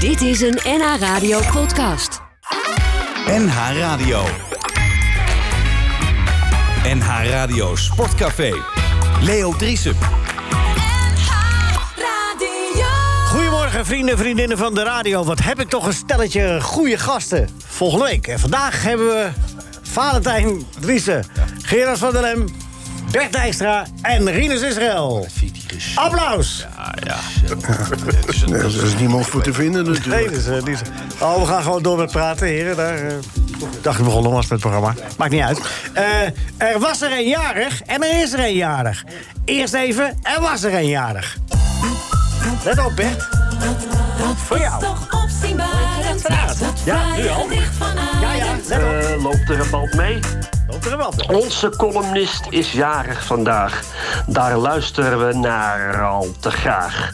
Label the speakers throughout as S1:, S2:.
S1: Dit is een NH Radio podcast.
S2: NH Radio. NH Radio Sportcafé. Leo Driesen.
S3: Goedemorgen, vrienden en vriendinnen van de radio. Wat heb ik toch een stelletje goede gasten volgende week. En vandaag hebben we Valentijn Driessen, Gerard van der Lem, Bert Dijkstra en Rinus Israël. Applaus!
S4: Nee, Er is niemand voor te vinden
S3: Nee,
S4: natuurlijk.
S3: dus, eh, niet zo- Oh, we gaan gewoon door met praten, heren. Daar, eh, dacht ik begonnen was met het programma. Maakt niet uit. Eh, er was er een jarig en er is er een jarig. Eerst even, er was er een jarig. Let op, Bert. Voor jou.
S5: Toch opzienbarend.
S3: Ja, nu al. Ja, ja, let op.
S6: Eh, loopt er een band mee?
S3: Loopt er een band op.
S6: Onze columnist is jarig vandaag. Daar luisteren we naar al te graag.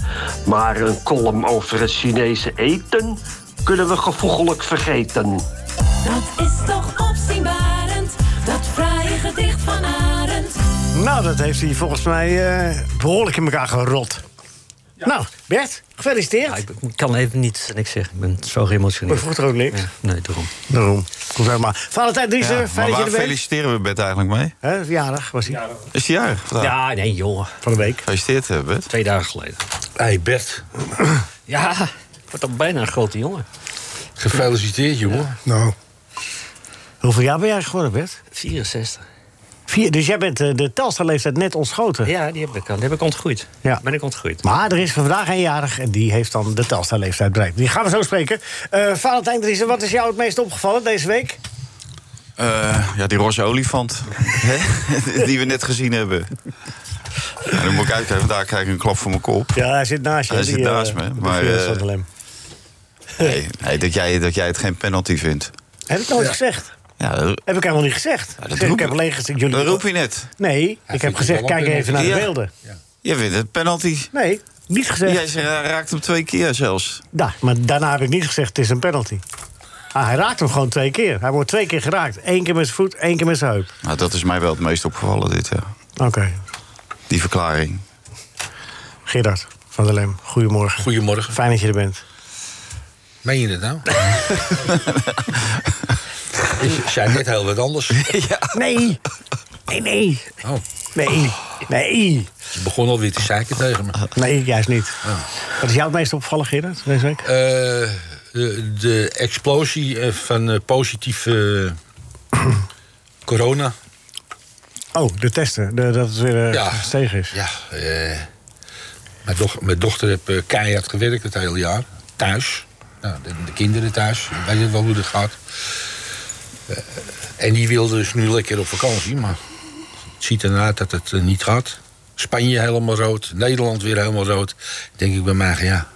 S6: Maar een column over het Chinese eten kunnen we gevoegelijk vergeten.
S5: Dat is toch opzienbarend. Dat fraaie gedicht van Arend.
S3: Nou, dat heeft hij volgens mij eh, behoorlijk in elkaar gerot. Nou, Bert, gefeliciteerd.
S7: Ja, Ah, ik ben- ik kan even niet niks zeggen. Ik ben zo
S3: Maar
S7: geëmotioneerd.
S3: je vroeg er ook niks.
S7: Ja, nee, daarom.
S3: Daarom. Hoeveel maar. Valentijn Driessen,
S8: maar
S3: fijn dat je
S8: waar
S3: er bent.
S8: feliciteren we Bert eigenlijk mee?
S3: Hè, verjaardag was hij.
S8: Is hij jarig vandaag?
S7: Ja, nee, jongen.
S3: Van de week.
S8: Gefeliciteerd, eh, Bert.
S7: Twee dagen geleden.
S4: Hey Bert,
S7: Ja, wordt al bijna een grote jongen.
S4: gefeliciteerd jongen. Nou,
S3: Hoeveel jaar ben jij geworden, Bert?
S7: 64.
S3: Vier. Dus jij bent eh, de Telstar-leeftijd net ontschoten.
S7: Ja, die heb ik, al- die heb ik ontgroeid.
S3: Ja.
S7: Ben ik ontgroeid.
S3: Maar er is van vandaag eenjarig en die heeft dan de Telstar-leeftijd bereikt. Die gaan we zo spreken. Eh Valentijn Driessen, wat is jou het meest opgevallen deze week?
S8: Eh, ja, die roze olifant. Hè? die we net gezien hebben. Ja, dan moet ik uitkijken, want daar krijg ik een klap voor mijn kop.
S3: Ja, hij zit naast je.
S8: Hij
S3: hè,
S8: zit
S3: die, eh,
S8: naast me,
S3: de
S8: maar,
S3: Gerard van
S8: eh,
S3: der Lem.
S8: Nee, nee, dat, jij, dat jij het geen penalty vindt.
S3: Heb ik nooit gezegd.
S8: Ja, dat,
S3: Heb ik helemaal niet gezegd.
S8: dat
S3: Ik zeg,
S8: roep
S3: ik
S8: je-
S3: heb alleen gezegd... Jullie...
S8: dat roep je net.
S3: Nee, ik heb
S4: vindt
S3: gezegd,
S4: het wel
S3: kijk
S4: een
S3: even naar de
S8: Ja.
S3: beelden.
S8: Je vindt het penalty.
S3: Nee, niet gezegd.
S8: Jij zegt, hij raakt hem twee keer zelfs.
S3: Ja, maar daarna heb ik niet gezegd, het is een penalty. Ah, hij raakt hem gewoon twee keer. Hij wordt twee keer geraakt. Eén keer met zijn voet, één keer met zijn heup.
S8: Nou, dat is mij wel het meest opgevallen, dit, ja.
S3: Oké,
S8: Die verklaring.
S3: Gerard van der Lem, goedemorgen.
S4: goedemorgen.
S3: Fijn dat je er bent.
S4: Meen je dat nou? Ik zei net heel wat anders.
S3: Nee, nee, nee,
S4: Oh,
S3: nee, nee,
S4: ze begon alweer te zeiken tegen me. Eh,
S3: nee, juist niet. Wat is jou het meest opgevallen, Gerard, deze week?
S4: Eh, de, de explosie eh, van eh, positieve eh, corona.
S3: Oh, de testen, de- dat het weer eh,
S4: Ja.
S3: gestegen is.
S4: Ja, eh, mijn, doch- mijn dochter heeft eh, keihard gewerkt het hele jaar. Thuis. Nou, de, de kinderen thuis. Ik Weet je wel hoe dat gaat. Eh, en die wilde dus nu lekker op vakantie. Maar het ziet ernaar dat het eh, niet gaat. Spanje helemaal rood. Nederland weer helemaal rood. Denk ik bij mij, ja.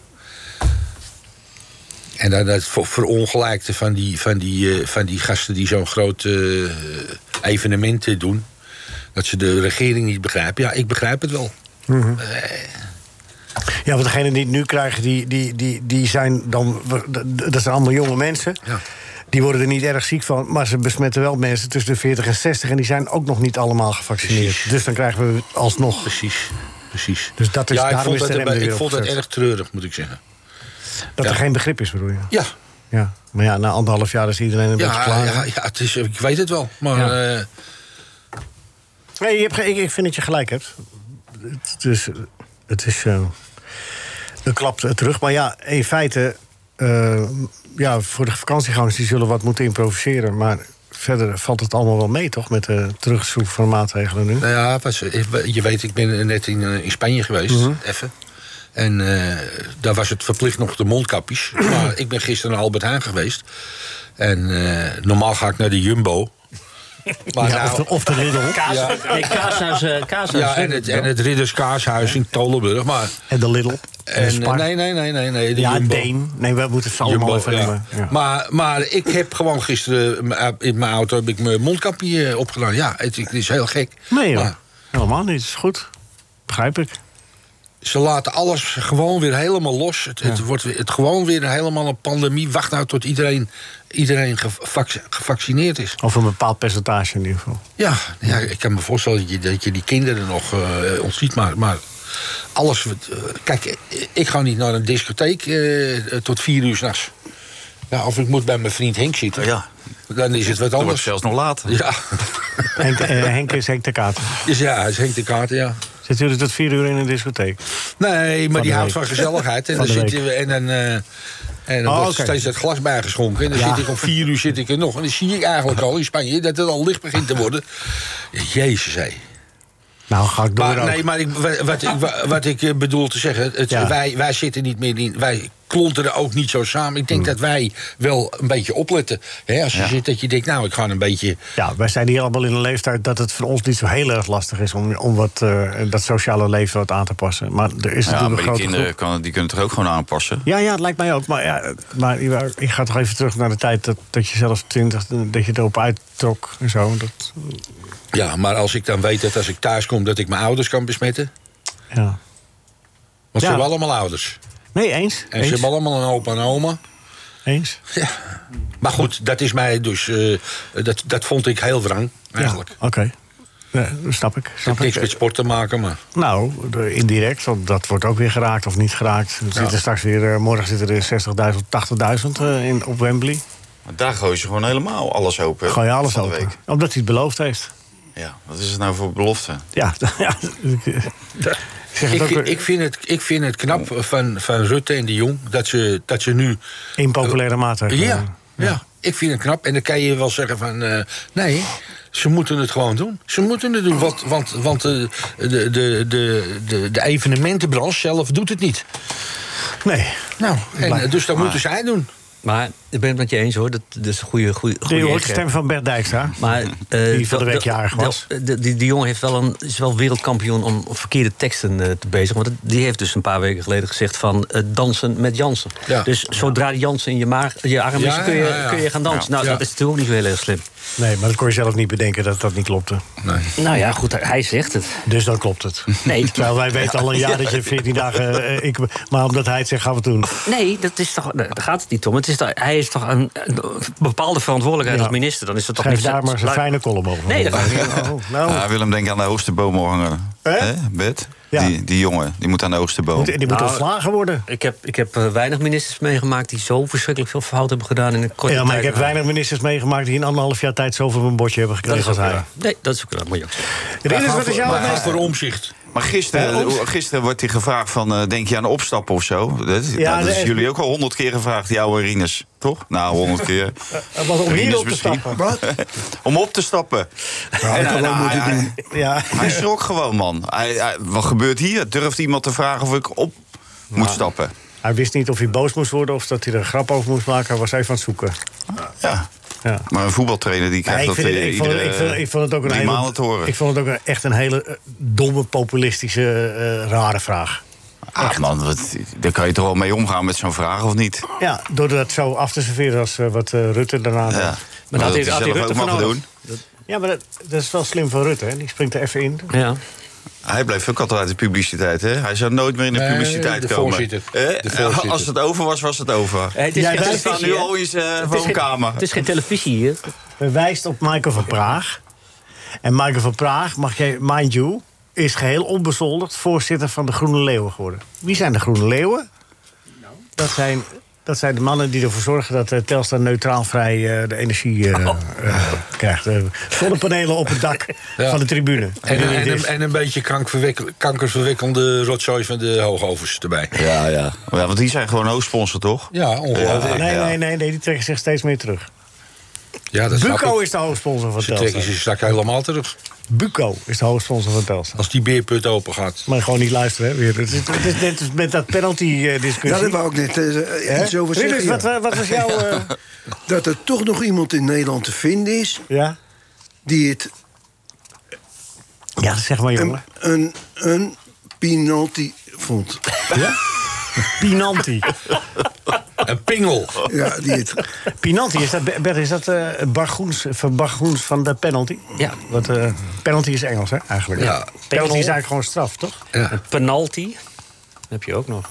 S4: En dan dat ver- verongelijkte van die, van die, eh, van die gasten die zo'n groot eh, evenement eh, doen. Dat ze de regering niet begrijpen. Ja, ik begrijp het wel.
S3: Ja, want degenen die het nu krijgen, die, die, die, die zijn dan. Dat zijn allemaal jonge mensen.
S4: Ja.
S3: Die worden er niet erg ziek van, maar ze besmetten wel mensen tussen de 40 en 60. En die zijn ook nog niet allemaal gevaccineerd.
S4: Precies.
S3: Dus dan krijgen we alsnog.
S4: Precies, precies.
S3: Dus dat is-
S4: ja, ik
S3: daarom
S4: vond,
S3: is de
S4: dat,
S3: rem er
S4: ik
S3: weer
S4: vond dat
S3: opgezet.
S4: erg treurig, moet ik zeggen.
S3: Dat er
S4: Ja.
S3: geen begrip is, bedoel je.
S4: Ja,
S3: Ja. Maar ja, na anderhalf jaar is iedereen een beetje
S4: ja,
S3: klaar.
S4: ja, ja het is, ik weet het wel. Maar eh,
S3: Nee, je hebt, ge- ik, ik vind dat je gelijk hebt. Het is, het is eh, een klap eh, terug. Maar ja, in feite... eh, ja, voor de vakantiegangers die zullen wat moeten improviseren. Maar verder valt het allemaal wel mee, toch? Met de terugschroeven van maatregelen nu.
S4: nou ja, was, je weet, ik ben net in, eh, in Spanje geweest, even. En eh, daar was het verplicht nog de mondkapjes. maar ik ben gisteren naar Albert Heijn geweest. En eh, normaal ga ik naar de Jumbo. Maar
S3: Ja,
S4: nou-
S3: of, de, of de Lidl.
S4: ja,
S7: Nee, kaashuis. eh, kaashuis
S4: ja, en het, en het Ridderskaashuis in Tolenburg. Maar,
S3: En de Lidl. En, de
S4: en, eh,
S3: Spar.
S4: nee, nee, nee, nee, nee, de
S3: ja,
S4: Jumbo.
S3: Deen. Nee, we moeten ze allemaal
S4: Jumbo,
S3: even
S4: ja.
S3: nemen. Ja.
S4: Maar, maar ik heb gewoon gisteren m- eh, in mijn auto heb ik mijn mondkapje eh, opgedaan. Ja, het, het is heel gek.
S3: Nee hoor,
S4: Maar
S3: helemaal niet. Is goed. Begrijp ik.
S4: ze laten alles gewoon weer helemaal los. Het, het wordt weer- het gewoon weer helemaal een pandemie. Wacht nou tot iedereen, iedereen gevac- gevaccineerd is.
S3: Of een bepaald percentage in ieder geval.
S4: Ja, ja, ik kan me voorstellen dat je, dat je die kinderen nog eh ontziet. Maar, maar Alles. wat, eh, kijk, ik ga niet naar een discotheek eh, tot vier uur s'nachts. Nou, of ik moet bij mijn vriend Henk zitten.
S8: Ja.
S4: Dan is het wat
S8: Dan wordt
S4: anders.
S8: het zelfs nog laat.
S4: Ja,
S3: Henk, eh, Henk is Henk de Kater.
S4: dus ja, is Henk de kaarten, ja.
S3: Zit jullie tot vier uur in een discotheek?
S4: Nee, maar
S3: de
S4: die houdt
S3: week.
S4: van gezelligheid. En
S3: Van
S4: dan
S3: de
S4: zit
S3: week.
S4: je en dan. eh, en dan
S3: Oh,
S4: wordt
S3: oké.
S4: steeds dat glas bijgeschonken. En dan zit ik om vier uur zit ik er nog. En dan zie ik eigenlijk al in Spanje dat het al licht begint te worden. Jezus, hé.
S3: Nou, ga ik door
S4: Maar,
S3: ook.
S4: nee, maar ik, wa- wat, ik, wa- wat ik eh, bedoel te zeggen, het,
S3: Ja.
S4: wij, wij zitten niet meer in. Wij klonteren ook niet zo samen. Ik denk
S3: Hmm.
S4: dat wij wel een beetje opletten. Hè, als je zit dat je denkt, nou, ik ga een beetje.
S3: Ja, wij zijn hier allemaal in een leeftijd dat het voor ons niet zo heel erg lastig is om, om wat, eh, dat sociale leven wat aan te passen. Maar er is
S8: Ja,
S3: natuurlijk
S8: maar
S3: een
S8: die
S3: grote
S8: kinderen
S3: groep.
S8: kan, die kunnen het er ook gewoon aanpassen.
S3: Ja, ja, het lijkt mij ook. Maar, ja, maar ik ga toch even terug naar de tijd dat, dat je zelf twintig, dat je erop uittrok en zo. Dat,
S4: Ja, maar als ik dan weet dat als ik thuis kom dat ik mijn ouders kan besmetten.
S3: ja.
S4: Want
S3: Ja.
S4: ze hebben allemaal ouders.
S3: Nee, eens.
S4: En
S3: eens,
S4: ze hebben allemaal een opa en een oma.
S3: eens.
S4: Maar goed, dat is mij dus. eh, dat, dat vond ik heel wrang, eigenlijk.
S3: Ja, Oké. Nee, dat snap ik.
S4: Het heeft
S3: Snap
S4: niks
S3: ik.
S4: met sport te maken, maar.
S3: Nou, de- indirect, want dat wordt ook weer geraakt of niet geraakt. Er zitten straks weer, eh, morgen zitten er 60.000, 80.000 eh, in, op Wembley.
S8: Maar daar gooien ze gewoon helemaal alles open.
S3: Gooi je alles
S8: van de
S3: open.
S8: week.
S3: Omdat hij het beloofd heeft.
S8: Ja, wat is het nou voor belofte?
S3: Ja, ja ik, ik zeg het
S4: Ik,
S3: ook weer
S4: ik, vind het, ik vind het knap van, van Rutte en de Jong dat ze, dat ze nu.
S3: impopulaire maatregelen.
S4: Ja, ja, ik vind het knap. En dan kan je wel zeggen van... eh, nee, ze moeten het gewoon doen. Ze moeten het doen, want, want, want eh, de, de, de, de, de evenementenbranche zelf doet het niet.
S3: Nee,
S4: Nou, en, eh, dus dat
S8: Maar-
S4: moeten zij doen.
S7: Maar ik ben het met je eens hoor. Dat, dat is een goede, goede,
S3: je
S7: goede
S3: hoort de
S7: echo.
S3: stem van Bert Dijkstra.
S7: Maar, eh,
S3: Die van de
S7: wel-
S3: week jarig
S7: wel-
S3: was.
S7: de- die, die jongen heeft wel een, is wel wereldkampioen om verkeerde teksten eh, te bezig. Want het- die heeft dus een paar weken geleden gezegd van eh, dansen met Jansen.
S4: Ja.
S7: Dus zodra die Jansen in je, maag, je arm is,
S4: Ja,
S7: kun, je,
S4: ja, ja.
S7: kun je gaan dansen. Nou,
S4: Ja.
S7: dat is natuurlijk ook niet zo heel erg slim.
S3: Nee, maar dat kon je zelf niet bedenken dat dat niet klopte.
S7: Nou ja, goed, hij- hij zegt het.
S3: Dus dan klopt het.
S7: Nee,
S3: Terwijl wij weten al een jaar dat je 14 dagen... eh, ik, maar omdat hij het zegt, gaan we het doen.
S7: Nee, dat is toch, nee, daar gaat het niet om. Het is toch, hij is toch een, een bepaalde verantwoordelijkheid
S3: Ja.
S7: als minister. Dan is dat toch
S3: Geef
S7: niet
S3: daar maar eens een
S7: laat-
S3: fijne column over.
S7: Nee, dat gaat niet.
S3: Oh, nou,
S8: Ja, Willem, denk aan de hoogste boom hangen.
S3: Hè?
S8: Hè, Bert?
S3: Ja.
S8: Die, die jongen, die moet aan de hoogste boom.
S3: die, die moet
S7: Nou,
S3: ontslagen worden.
S7: Ik heb, ik heb eh, weinig ministers meegemaakt die zo verschrikkelijk veel fout hebben gedaan in een korte
S3: Ja, maar ik
S7: tijd.
S3: heb weinig ministers meegemaakt die in anderhalf jaar tijd zoveel op een bordje hebben
S7: Dat
S3: gekregen
S7: is
S3: als hij.
S7: ook waar. Nee, dat is ook waar. Moet je ook zeggen.
S3: Rinus, wat is jouw
S4: Maar ga
S3: meest...
S4: voor omzicht.
S8: Maar gisteren, eh, gisteren wordt hij gevraagd van, eh, denk je aan opstappen of zo? Dat, nou, dat is
S3: nee.
S8: jullie ook al honderd keer gevraagd, die oude Rinus, toch? Nou, honderd keer.
S3: Wat om
S8: Rinus
S3: hier op te
S8: misschien.
S3: stappen.
S8: Om op te stappen. En, eh, nou, hij,
S3: Ja.
S8: hij schrok gewoon, man. Hij, hij- wat gebeurt hier? Durft iemand te vragen of ik op moet stappen?
S3: Hij wist niet of hij boos moest worden of dat hij er een grap over moest maken. Hij was even aan het zoeken.
S8: Ja.
S3: Ja.
S8: Maar een voetbaltrainer die
S3: Ja,
S8: krijgt
S3: ik,
S8: dat
S3: vind het,
S8: eh,
S3: ik, vond het, ik,
S8: iedere
S3: vond, ik vond het ook een
S8: drie
S3: hele,
S8: maanden te horen.
S3: Ik vond het ook een- echt een hele eh, domme, populistische, eh, rare vraag.
S8: Ah, man, wat, daar kan je toch wel mee omgaan met zo'n vraag, of niet?
S3: Ja, door dat zo af te serveren als eh, wat eh, Rutte daarna
S8: Ja.
S3: ja.
S8: Maar dat
S7: had hij-
S8: hij
S7: had hij
S8: zelf
S7: Rutte
S8: ook
S7: voor
S8: mag
S7: nodig?
S8: doen.
S3: ja, maar dat, dat is wel slim van Rutte, hè? Die springt er even in.
S7: Ja.
S8: Hij blijft ook altijd uit de publiciteit, hè? Hij zou nooit meer in de
S4: Nee,
S8: publiciteit
S4: de
S8: komen.
S4: voorzitter.
S8: Hè?
S4: De voorzitter.
S8: Als het over was, was het over.
S7: het is
S3: Jij wijst-
S7: geen
S8: Hij
S7: televisie,
S8: staat nu
S7: hè?
S8: al eh, in zijn
S7: Het is geen-
S8: woonkamer.
S7: Het is geen televisie hier.
S3: Wijst op Michael van Praag. En Michael van Praag, mag jij, mind you, is geheel onbezoldigd voorzitter van de Groene Leeuwen geworden. Wie zijn de Groene Leeuwen? Dat zijn, dat zijn de mannen die ervoor zorgen dat eh, Telstar neutraal vrij eh, de energie eh,
S4: Oh.
S3: eh, krijgt. Eh, zonnepanelen op het dak
S4: Ja.
S3: van de tribune.
S4: En,
S3: Ik
S4: en,
S3: bedoel,
S4: en,
S3: dit
S4: een-
S3: is-
S4: en een beetje kankerverwik- kankerverwikkelde rotzooi van de hoogovers erbij.
S8: Ja, ja. ja. Want die zijn gewoon hoofdsponsor, toch?
S4: Ja, ongelooflijk.
S3: Nee,
S8: ja.
S3: nee, nee, nee, die trekken zich steeds meer terug.
S4: Ja, dat snap
S3: Buco
S4: ik.
S3: is de hoofdsponsor van
S4: Ze trekken
S3: Telstar.
S4: ze straks helemaal terug.
S3: Buco is de hoofdsponsor van Telstar.
S4: Als die beerput open gaat.
S3: Maar gewoon niet luisteren, hè, weer. Het is, het is net als met dat eh,
S9: Ja,
S3: penalty-discussie.
S9: dat wou ik net eh,
S3: Hè?
S9: iets over
S3: Rinus,
S9: zeggen.
S3: wat,
S9: ja.
S3: eh, wat was jouw... eh,
S9: Dat er toch nog iemand in Nederland te vinden is...
S3: ja?
S9: die het
S3: ja, zeg maar,
S9: een,
S3: jongen.
S9: een, een penalty vond.
S3: Pinanti.
S4: Een pingel.
S9: Ja, die het,
S3: Pinanti, is dat, Bert, is dat eh Bargoens, van Bargoens van de penalty?
S7: Ja.
S3: Wat, eh, penalty is Engels, hè, eigenlijk.
S4: Ja.
S3: Penalty
S7: Penal.
S3: is eigenlijk gewoon straf, toch?
S4: Ja.
S7: Een penalty. Dat heb je ook nog.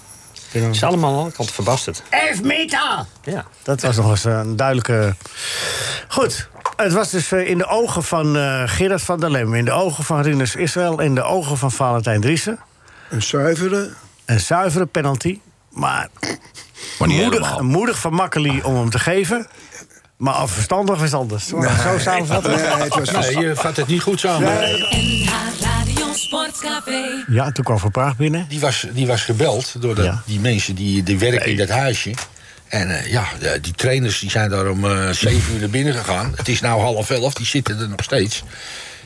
S7: Het is allemaal aan de kant verbasterd.
S3: Elf meter!
S7: Ja.
S3: Dat was nog eens een duidelijke... Goed, het was dus eh, in de ogen van eh Gerard van der Lem... in de ogen van Rinus Israël, in de ogen van Valentijn Driessen...
S9: Een zuivere.
S3: Een zuivere penalty. Maar,
S8: Maar niet
S3: moedig,
S8: helemaal.
S3: moedig van
S4: Ah.
S3: Makkeli om hem te geven. Maar verstandig is anders. Zo- Zo samenvatten.
S9: Nee, het was
S4: Nee, je vat het niet goed samen.
S5: NH Radio Sportcafé.
S3: Ja, toen kwam Van Praag binnen.
S4: Die was, die was gebeld door dat-
S3: Ja.
S4: die mensen die, die werken in dat huisje. En eh, ja, de- die trainers die zijn daar om eh, zeven uur naar binnen gegaan. Het is nu half elf, die zitten er nog steeds.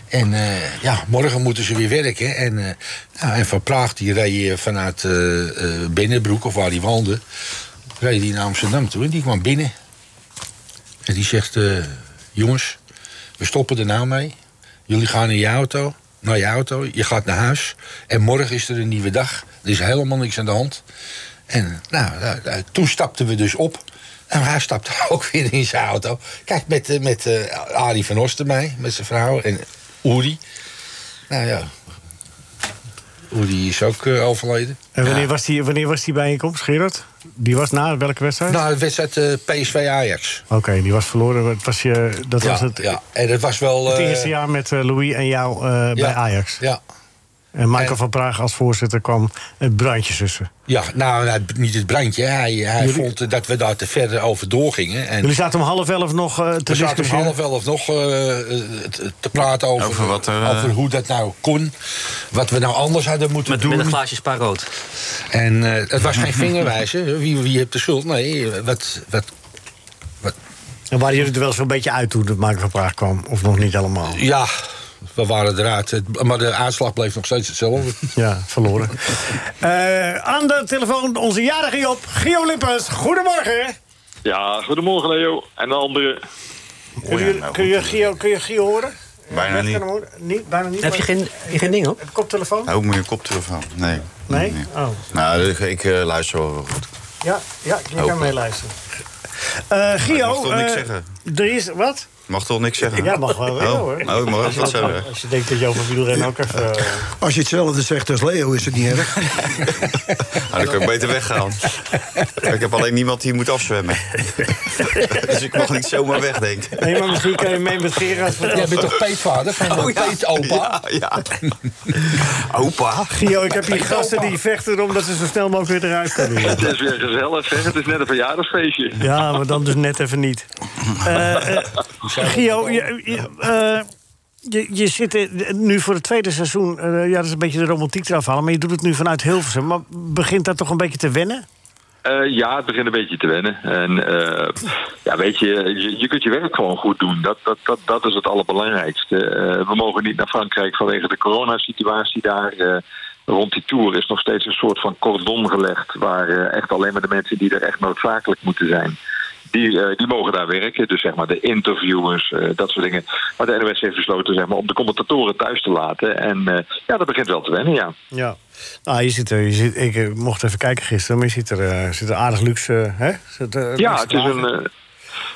S4: En eh, ja, morgen moeten ze weer werken. En, eh, nou, en Van Praag die reed eh, vanuit eh, eh, Binnenbroek, of waar hij woonde... reed hij naar Amsterdam toe en die kwam binnen. En die zegt, eh, jongens, we stoppen er nou mee. Jullie gaan in je auto, naar je auto, je gaat naar huis. En morgen is er een nieuwe dag. Er is helemaal niks aan de hand. En nou, nou, nou, toen stapten we dus op. En hij stapte ook weer in zijn auto. Kijk, met, eh, met eh, Arie van Oost erbij, met zijn vrouw en Uri. Nou ja, Uri is ook eh, overleden.
S3: En wanneer,
S4: Ja.
S3: was die, wanneer was die bijeenkomst, Gerard? Die was na welke wedstrijd?
S4: Nou, de wedstrijd eh, PSV Ajax.
S3: Oké, die was verloren. Het was je, dat
S4: ja,
S3: was het,
S4: ja, en dat was wel...
S3: het
S4: eh,
S3: eerste jaar met eh, Louis en jou eh, bij
S4: ja,
S3: Ajax.
S4: Ja,
S3: En Michael
S4: En-
S3: van Praag als voorzitter kwam het brandje tussen.
S4: Ja, nou, nou, niet het brandje. Hij, hij
S3: Jullie-
S4: vond eh, dat we daar te ver over doorgingen. En
S3: Jullie zaten om half elf nog eh, te
S4: we zaten om
S3: discussiëren.
S4: half elf nog eh, eh, te- te praten over,
S8: Over wat er, eh,
S4: over hoe dat nou kon. Wat we nou anders hadden moeten
S7: Met,
S4: doen.
S7: met een glaasje spaarrood.
S4: En eh, het was geen vingerwijzen. Wie, wie heeft de schuld? Nee, wat, wat,
S3: En waren jullie er wel zo'n beetje uit toen het Michael van Praag kwam? Of nog niet helemaal?
S4: ja, we waren eruit. Het- Maar de uitslag bleef nog steeds hetzelfde.
S3: Ja, verloren. Eh, aan de telefoon onze jarige Job, Gio Lippens. Goedemorgen.
S10: Ja, goedemorgen Leo en de anderen.
S3: Kun je,
S8: nou
S3: kun
S8: goed.
S3: je, Gio, kun je Gio horen?
S8: Bijna
S3: Met
S8: niet.
S3: kan hem horen? niet. Bijna niet.
S7: Heb je
S3: maar-
S7: geen, geen ding op?
S3: Heb je koptelefoon?
S8: Nou, Ook moet je koptelefoon. Nee.
S3: Nee? Oh.
S8: Nou, ik, ik eh, luister wel goed.
S3: Ja, ja je kan
S8: Hopelijk.
S3: meeluisteren. Eh Gio,
S8: mag toch niks
S3: eh,
S8: zeggen?
S3: er is wat?
S8: Mag toch niks zeggen?
S3: Ja, mag wel. Ja,
S8: Oh,
S3: hoor.
S8: oh, ik mag ook wat zeggen.
S3: Als je denkt dat je over wielrennen ook even... eh,
S9: Als je hetzelfde zegt als Leo, is het niet erg.
S8: Nou, dan kan ik beter weggaan. ik heb alleen niemand die moet afzwemmen. dus ik mag niet zomaar weg, denk ik.
S3: Nee, maar misschien kan je mee met Gerard
S4: Jij
S3: vertellen.
S4: bent toch peetvader van oh, peetopa?
S8: Ja, ja. Opa.
S3: Gio, ik heb hier gasten die vechten omdat ze zo snel mogelijk weer eruit kunnen.
S10: Het is weer gezellig, zeg. Het is net een verjaardagsfeestje.
S3: Ja, maar dan dus net even niet. Eh, eh, Gio, je, je, eh, je, je zit in- nu voor het tweede seizoen. eh, ja, dat is een beetje de romantiek eraf halen. Maar je doet het nu vanuit Hilversum. Maar begint dat toch een beetje te wennen?
S10: Eh, ja, het begint een beetje te wennen. En eh, ja, weet je, je, je kunt je werk gewoon goed doen. Dat, dat, dat, dat is het allerbelangrijkste. Eh, we mogen niet naar Frankrijk vanwege de coronasituatie daar. Eh, rond die tour is nog steeds een soort van cordon gelegd... waar eh, echt alleen maar de mensen die er echt noodzakelijk moeten zijn... Die, eh, die mogen daar werken, dus zeg maar de interviewers, eh, dat soort dingen. Maar de NOS heeft besloten zeg maar, om de commentatoren thuis te laten. En eh, ja, dat begint wel te wennen, ja.
S3: Ja. Nou, je zit er, je zit, ik eh, mocht even kijken gisteren, maar je zit er, eh, zit er aardig luxe. Hè? Zit er
S10: Ja,
S3: luxe
S10: het is
S3: wagen.
S10: een. eh,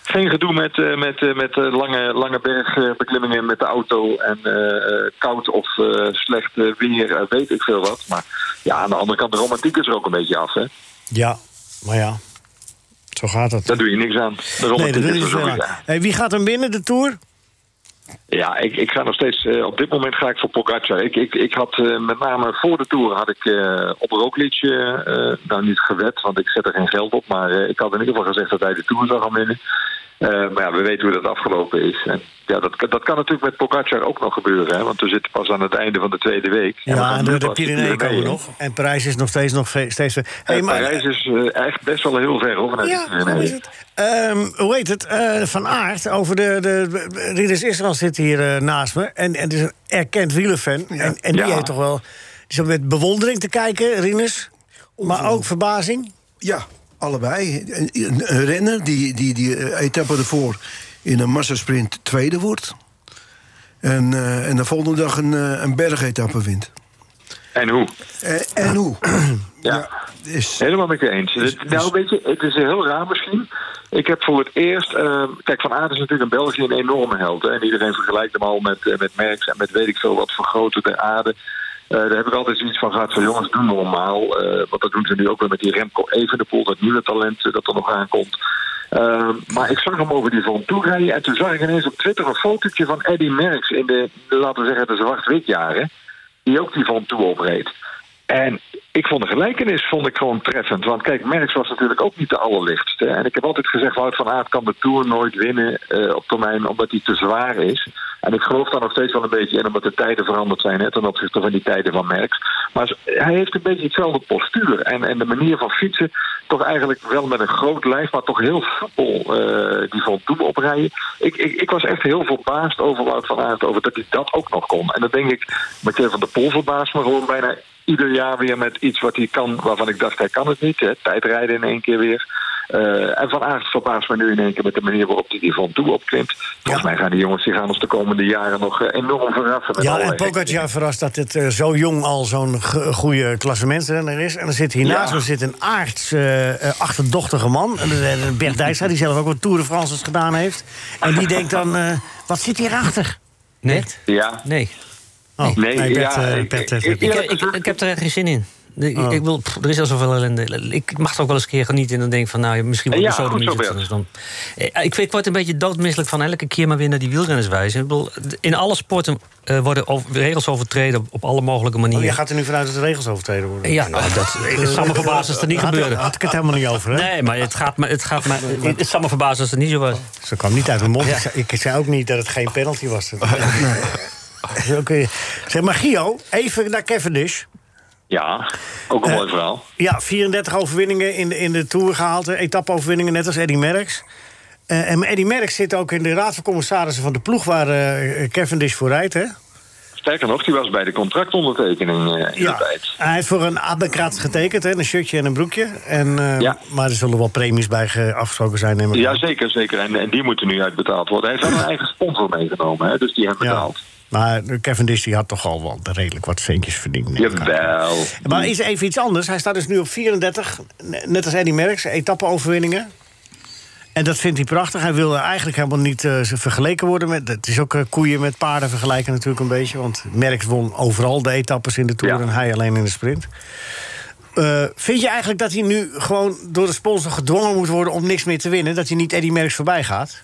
S10: geen gedoe met, eh, met, eh, met eh, lange, lange bergbeklimmingen met de auto en eh, eh, koud of eh, slecht eh, weer, eh, weet ik veel wat. Maar ja, aan de andere kant, de romantiek is er ook een beetje af. Hè?
S3: Ja, maar ja, zo gaat dat.
S10: Daar doe je niks aan. De
S3: nee,
S10: romantiek
S3: dat doe
S10: is
S3: je
S10: er
S3: zo
S10: sowieso.
S3: aan. Hey, Wie gaat hem winnen, de Tour?
S10: Ja, ik, ik ga nog steeds. eh, op dit moment ga ik voor Pogacar. Ik, ik, ik had eh, met name voor de tour had ik eh, op Roglic, eh eh, nou niet gewet, want ik zet er geen geld op, maar eh, ik had in ieder geval gezegd dat hij de tour zou gaan winnen. Eh, maar ja, we weten hoe dat afgelopen is. En ja, dat, dat kan natuurlijk met Pogacar ook nog gebeuren, hè, want we zitten pas aan het einde van de tweede week. we
S3: Ja,
S10: gaan
S3: en
S10: nu
S3: door de
S10: pas
S3: Pyreneeën komen we
S10: Pyreneeën.
S3: nog. En Parijs is nog steeds... Nog ve- steeds
S10: En
S3: Hey, maar-
S10: Parijs is eh, echt best wel heel ver hoor, vanuit
S3: Ja,
S10: de Pyreneeën.
S3: hoe is het? Ehm, hoe heet het? Eh, van Aert over de, de, de- Ridders Israël zit hier eh, naast me. En, en het is een erkend wielerfan. En, en die
S10: Ja.
S3: heeft toch wel... Die zat met bewondering te kijken, Rinus. Maar ook verbazing.
S9: Ja, allebei. Een, een- een renner die, die, die eh, etappe ervoor in een massasprint tweede wordt. En, eh, en de volgende dag een, eh, een bergetappe wint.
S10: En hoe?
S9: En, Eh, en hoe?
S10: ja.
S9: Is,
S10: Helemaal met je eens. Het- nou, weet je, het is heel raar misschien. Ik heb voor het eerst... eh, kijk, Van Aert is natuurlijk in België een enorme held. hè. En iedereen vergelijkt hem al met, eh, met Merckx en met weet ik veel wat voor grote der aarde. Eh, daar heb ik altijd zoiets van gehad van jongens, doe normaal. Eh, want dat doen ze nu ook weer met die Remco Evenepoel, dat nieuwe talent eh, dat er nog aankomt. Eh, maar ik zag hem over die vorm toe rijden en toen zag ik ineens op Twitter een fotootje van Eddy Merckx in de, laten we zeggen, de zwart-wit jaren. Die ook die vorm toe opreed. En ik vond de gelijkenis vond ik gewoon treffend. Want kijk, Merckx was natuurlijk ook niet de allerlichtste. En ik heb altijd gezegd, Wout van Aert kan de Tour nooit winnen eh, op termijn... omdat hij te zwaar is. En ik geloof daar nog steeds wel een beetje in... omdat de tijden veranderd zijn hè, ten opzichte van die tijden van Merckx. Maar z- hij heeft een beetje hetzelfde postuur. En, en de manier van fietsen, toch eigenlijk wel met een groot lijf... maar toch heel soepel eh, die voldoen oprijden. Ik, ik, ik was echt heel verbaasd over Wout van Aert... over dat hij dat ook nog kon. En dan denk ik, Mathieu van der Poel verbaast me gewoon bijna ieder jaar weer met iets wat hij kan, waarvan ik dacht hij kan het niet. Hè. Tijdrijden in één keer weer. Eh, en Van Aert verbaast me nu in één keer met de manier waarop hij die van toe opklimt. Volgens mij gaan die jongens zich aan ons de komende jaren nog eh, enorm verrassen. Met
S3: Ja, en
S10: allerlei
S3: Pogacar verrast dat het eh, zo jong al zo'n ge- goede klassementsrenner is. En dan zit hiernaast
S10: Ja.
S3: er zit een aards eh, eh, achterdochtige man. En, eh, Bert Dijkstra, die zelf ook wat Tour de France's gedaan heeft. En die denkt dan, eh, wat zit hierachter?
S7: Nee?
S10: Ja.
S7: Nee.
S3: Oh, nee,
S7: ik-
S3: Bert, eh, Bert heeft het.
S7: ik, ik, ik heb er echt geen zin in. Ik,
S3: Oh.
S7: ik wil, pff, er is al zoveel ellende. Ik mag er ook wel eens een keer genieten en dan denk ik van... nou, ja, misschien wordt
S10: Ja,
S7: het zo
S10: goed zo,
S7: niet.
S10: Bert.
S7: Dus dan, eh, ik, ik word een beetje doodmisselijk van elke keer maar weer naar die wielrenners wijzen. Ik bedoel, in alle sporten eh, worden over- regels overtreden op, op alle mogelijke
S3: Oh,
S7: manieren.
S3: je gaat er nu vanuit dat de regels overtreden worden.
S7: Ja, nou, dat- het zou me verbazen als het niet
S3: Had-
S7: gebeurde.
S3: Had ik het helemaal niet over, hè?
S7: Nee, maar het gaat me... Het, gaat me, het, het zou me verbazen als het niet zo was.
S3: Ze kwam niet uit mijn mond.
S7: Ja.
S3: Ik, zei, ik zei ook niet dat het geen penalty was. Dat- Zo kun je- Zeg maar, Gio, even naar Cavendish.
S10: Ja, ook
S3: Eh,
S10: een mooi verhaal.
S3: Ja, 34 overwinningen in de, in de Tour gehaald. hè. Etappe-overwinningen, net als Eddy Merckx. Eh, en Eddy Merckx zit ook in de raad van commissarissen van de ploeg... waar eh, Cavendish voor rijdt, hè?
S10: Sterker nog, die was bij de contractondertekening eh, in de tijd.
S3: Hij heeft voor een abbekraat getekend, hè? Een shirtje en een broekje. En, eh,
S10: Ja.
S3: Maar er zullen wel premies bij ge- afgesproken zijn, neem ik aan.
S10: Ja, zeker, zeker. En, en die moeten nu uitbetaald worden. Hij heeft wel een eigen sponsor meegenomen, hè, dus die hebben betaald.
S3: Maar Cavendish die had toch al wel redelijk wat centjes verdiend. neem ik aan.
S10: Jawel.
S3: Maar is even iets anders. Hij staat dus nu op 34, ne- net als Eddy Merckx, etappe-overwinningen. En dat vindt hij prachtig. Hij wil eigenlijk helemaal niet eh, ze vergeleken worden met... Het is ook eh, koeien met paarden vergelijken natuurlijk een beetje. Want Merckx won overal de etappes in de Tour...
S10: Ja.
S3: en hij alleen in de sprint. Eh, vind je eigenlijk dat hij nu gewoon door de sponsor gedwongen moet worden... om niks meer te winnen? Dat hij niet Eddy Merckx voorbij gaat?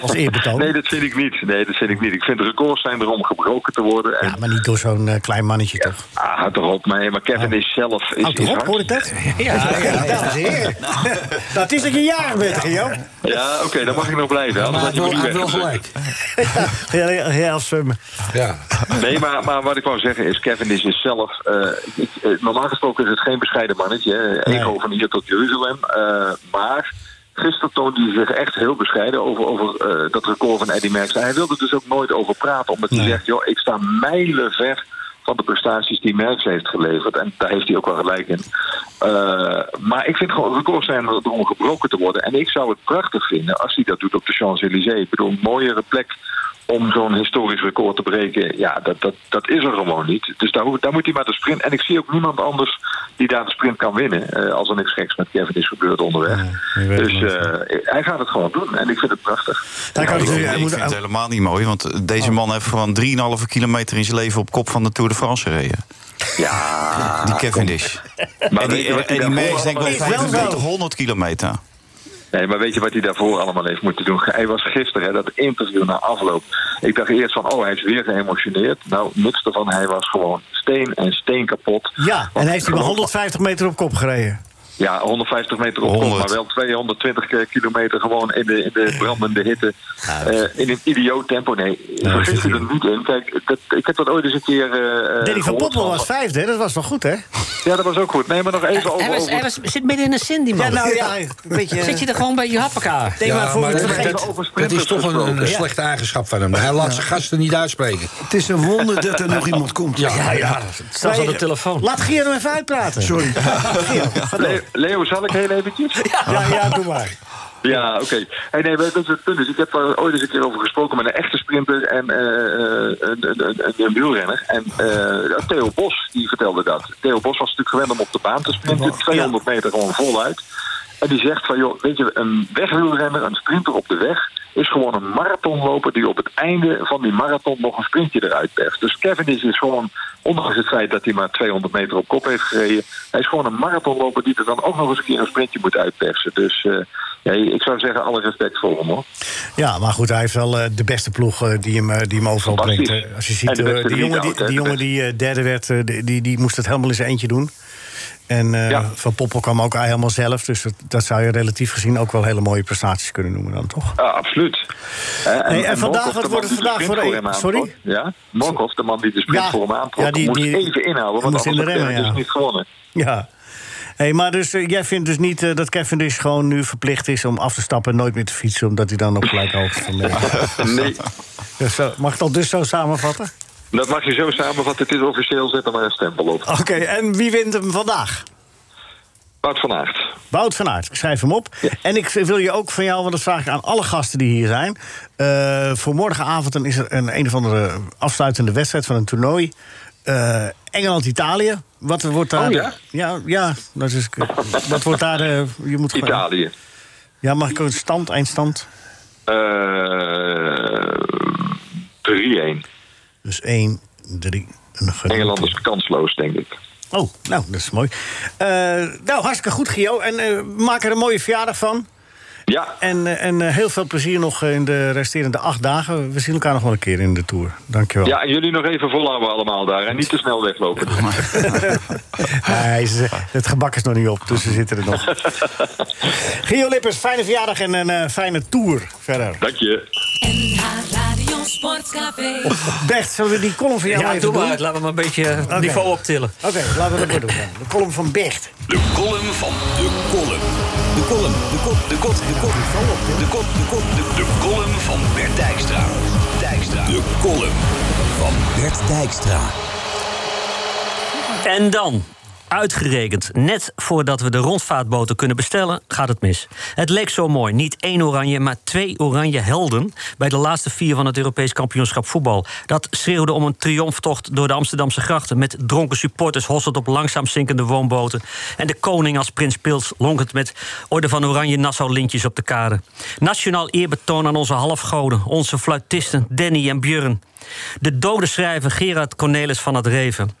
S3: Als eerbetoon?
S10: Nee, dat vind ik niet. Nee, dat vind ik niet. Ik vind records zijn er om gebroken te worden. En
S3: Ja, maar niet door zo'n eh, klein mannetje toch?
S10: Ah, houd toch op mee. Maar Kevin is zelf... Is,
S3: Houd
S10: is
S3: toch op,
S10: hard.
S3: hoor ik dat?
S7: Ja,
S3: Dames en heren. Nou, het is dat je jarig bent, Gio.
S10: Ja, oké, dan mag ik nog blijven. Anders had je me niet weggezet.
S3: Ja, ja, ja, als, ehm,
S4: Ja.
S10: Nee, maar, maar wat ik wou zeggen is, Kevin is dus zelf... eh, ik- eh, normaal gesproken is het geen bescheiden mannetje. hè.
S3: Nee.
S10: Ego van hier tot Jeruzalem. Eh, maar gisteren toonde hij zich echt heel bescheiden over, over eh, dat record van Eddy Merckx. En hij wilde er dus ook nooit over praten. Omdat hij zegt, joh, ik sta mijlen ver van de prestaties die Merckx heeft geleverd. En daar heeft hij ook wel gelijk in. Eh, maar ik vind gewoon, records zijn er om gebroken te worden. En ik zou het prachtig vinden als hij dat doet op de Champs-Élysées. Ik bedoel, een mooiere plek om zo'n historisch record te breken, ja, dat, dat, dat is er gewoon niet. Dus daar, hoef- daar moet hij maar de sprint. En ik zie ook niemand anders die daar de sprint kan winnen. eh, als er niks geks met Kevin is gebeurd onderweg.
S3: je weet
S10: dus
S3: het nooit,
S10: eh, hij gaat het gewoon doen. En ik vind het prachtig.
S3: Daar kan
S8: Nou, Ik,
S3: natuurlijk- hij
S8: ik
S3: moet-
S8: vind het helemaal niet mooi, want deze man heeft gewoon 3,5 kilometer in zijn leven op kop van de Tour de France gereden.
S10: Ja,
S8: Die Cavendish.
S10: maar
S8: en
S10: weet je
S8: die, en
S10: wat hij
S8: die
S10: daarvoor
S8: Merckx denkt wel
S3: Is
S10: allemaal
S3: wel zo.
S8: 2500 kilometer.
S10: Nee, maar weet je wat hij daarvoor allemaal heeft moeten doen? Hij was gisteren, hè, dat interview na afloop. Ik dacht eerst van, oh, hij is weer geëmotioneerd. Nou, niks ervan. Hij was gewoon steen en steen kapot.
S3: Ja, en
S10: Want
S3: hij heeft hij maar
S10: geloof-
S3: 150 meter op kop gereden.
S10: Ja, 150 meter op kop,
S8: 100.
S10: maar wel 220 ke- kilometer gewoon in de, in de brandende hitte. Eh, in een idioot tempo. Nee, vergis je er niet in. Kijk, dat, ik heb dat ooit eens een keer. eh,
S3: Danny van
S10: gehoord
S3: Poppel was vijfde, hè? dat was wel goed, hè?
S10: Ja, dat was ook goed. Nee, maar nog even over.
S7: Hij, was,
S10: over-
S7: hij was, zit midden in een zin, die man.
S3: een beetje...
S7: Zit je er gewoon bij je hap elkaar?
S3: Nee, maar voor
S4: maar
S3: het
S4: dat,
S10: vergeten
S3: vergeet...
S4: dat-
S10: over
S4: dat
S10: sprinters
S4: is toch een,
S10: gesproken.
S4: een slechte eigenschap van hem. Hij laat zijn gasten niet uitspreken.
S9: Het is een wonder dat er nog iemand komt.
S4: Ah,
S7: Zelfs op de telefoon.
S3: Laat Gier hem even uitpraten.
S9: Sorry.
S3: Gio, ga door.
S10: Le- Leo, zal ik heel eventjes?
S3: Ja, ja, doe maar.
S10: Ja, oké. Hey, nee, maar dat is het punt. Dus ik heb daar ooit eens een keer over gesproken met een echte sprinter en eh, eh, een, een, een, een wielrenner. En eh, Theo Bos, die vertelde dat. Theo Bos was natuurlijk gewend om op de baan te sprinten. 200 meter gewoon voluit. En die zegt van, joh, weet je, een wegwielrenner, een sprinter op de weg... is gewoon een marathonloper die op het einde van die marathon nog een sprintje eruit perst. Dus Cavendish is gewoon, ondanks het feit dat hij maar 200 meter op kop heeft gereden... hij is gewoon een marathonloper die er dan ook nog eens een keer een sprintje moet uitpersen. Dus... eh, ja, ik zou zeggen, alle respect voor hem hoor.
S3: Ja, maar goed, hij heeft wel eh, de beste ploeg eh, die hem, eh, die hem overal
S10: Fantastisch.
S3: brengt. eh. Als je
S10: En
S3: ziet,
S10: de
S3: eh,
S10: beste
S3: die jongen die,
S10: lead-out, hè,
S3: die,
S10: de
S3: jongen die eh, derde werd, eh, die, die, die moest het helemaal in zijn eentje doen. En eh,
S10: Ja.
S3: Van Poppel kwam ook helemaal zelf. Dus dat, dat zou je relatief gezien ook wel hele mooie prestaties kunnen noemen dan, toch?
S10: Ja, Ah, absoluut. Eh,
S3: Nee, en vandaag,
S10: Morkov,
S3: wat
S10: de man
S3: wordt het
S10: die
S3: vandaag
S10: de sprint
S3: voor- e-
S10: hem aantrok,
S3: sorry?
S10: Ja, Morkov, de man die de sprint
S3: Ja,
S10: voor hem aantrok,
S3: ja, die-
S10: moest
S3: die-
S10: even
S3: hij
S10: inhouden, want
S3: moest in
S10: anders
S3: de
S10: had hij
S3: remmen,
S10: dus
S3: ja.
S10: niet gewonnen.
S3: Ja. Hey, maar dus, eh, jij vindt dus niet eh, dat Kevin dus gewoon nu verplicht is om af te stappen en nooit meer te fietsen, omdat hij dan op gelijke hoogte van Morgen.
S10: Nee,
S3: Dus, eh, mag ik dat dus zo samenvatten?
S10: dat mag je zo samenvatten. Het is officieel, zet er maar een stempel op.
S3: Oké, en wie wint hem vandaag?
S10: Bart van Aert.
S3: Wout van Aert, ik schrijf hem op. En ik wil je ook van jou, want dat vraag ik aan alle gasten die hier zijn. eh, voor morgenavond dan is er een, een of andere afsluitende wedstrijd van een toernooi. Eh, Engeland-Italië. Wat wordt daar.
S10: Oh, ja?
S3: ja, ja, dat is. Wat wordt daar. eh, je moet gewoon-
S10: Italië.
S3: Ja, mag ik ook een stand, eindstand?
S10: Eh, 3-1.
S3: Dus 1, 3.
S10: Engeland is kansloos, denk ik.
S3: Oh, nou, dat is mooi. Eh, nou, hartstikke goed, Gio. En eh, maak er een mooie verjaardag van.
S10: Ja.
S3: En, eh, en eh, heel veel plezier nog eh, in de resterende acht dagen. We zien elkaar nog wel een keer in de Tour. Dankjewel.
S10: Ja, en jullie nog even volhouden allemaal daar. En niet te snel weglopen.
S3: Nee, ze- het gebak Ah, is nog niet op, dus ze zitten er nog. Gio Lippers, fijne verjaardag en een eh, fijne Tour verder.
S10: Dank je.
S5: NH Radio Sportcafé.
S3: Bert, zullen we die column van jou
S7: Ja,
S3: nou even
S7: doe
S3: doen?
S7: maar. Laten we maar een beetje het niveau optillen.
S3: Oké, laten we dat maar doen. dan. De column van Bert.
S2: De column van de column. De column, de kop, de kop, de kop. De kop, de kop, de De column van Bert Dijkstra. Dijkstra. De column van Bert Dijkstra.
S7: En dan. Uitgerekend, net voordat we de rondvaartboten kunnen bestellen, gaat het mis. Het leek zo mooi, niet één oranje, maar twee oranje helden... bij de laatste vier van het Europees kampioenschap voetbal. Dat schreeuwde om een triomftocht door de Amsterdamse grachten... met dronken supporters hossend op langzaam zinkende woonboten... en de koning als prins Pils lonkend met orde van oranje Nassau-lintjes op de kade. Nationaal eerbetoon aan onze halfgoden, onze fluitisten Danny en Björn. De dode schrijver Gerard Cornelis van het Reven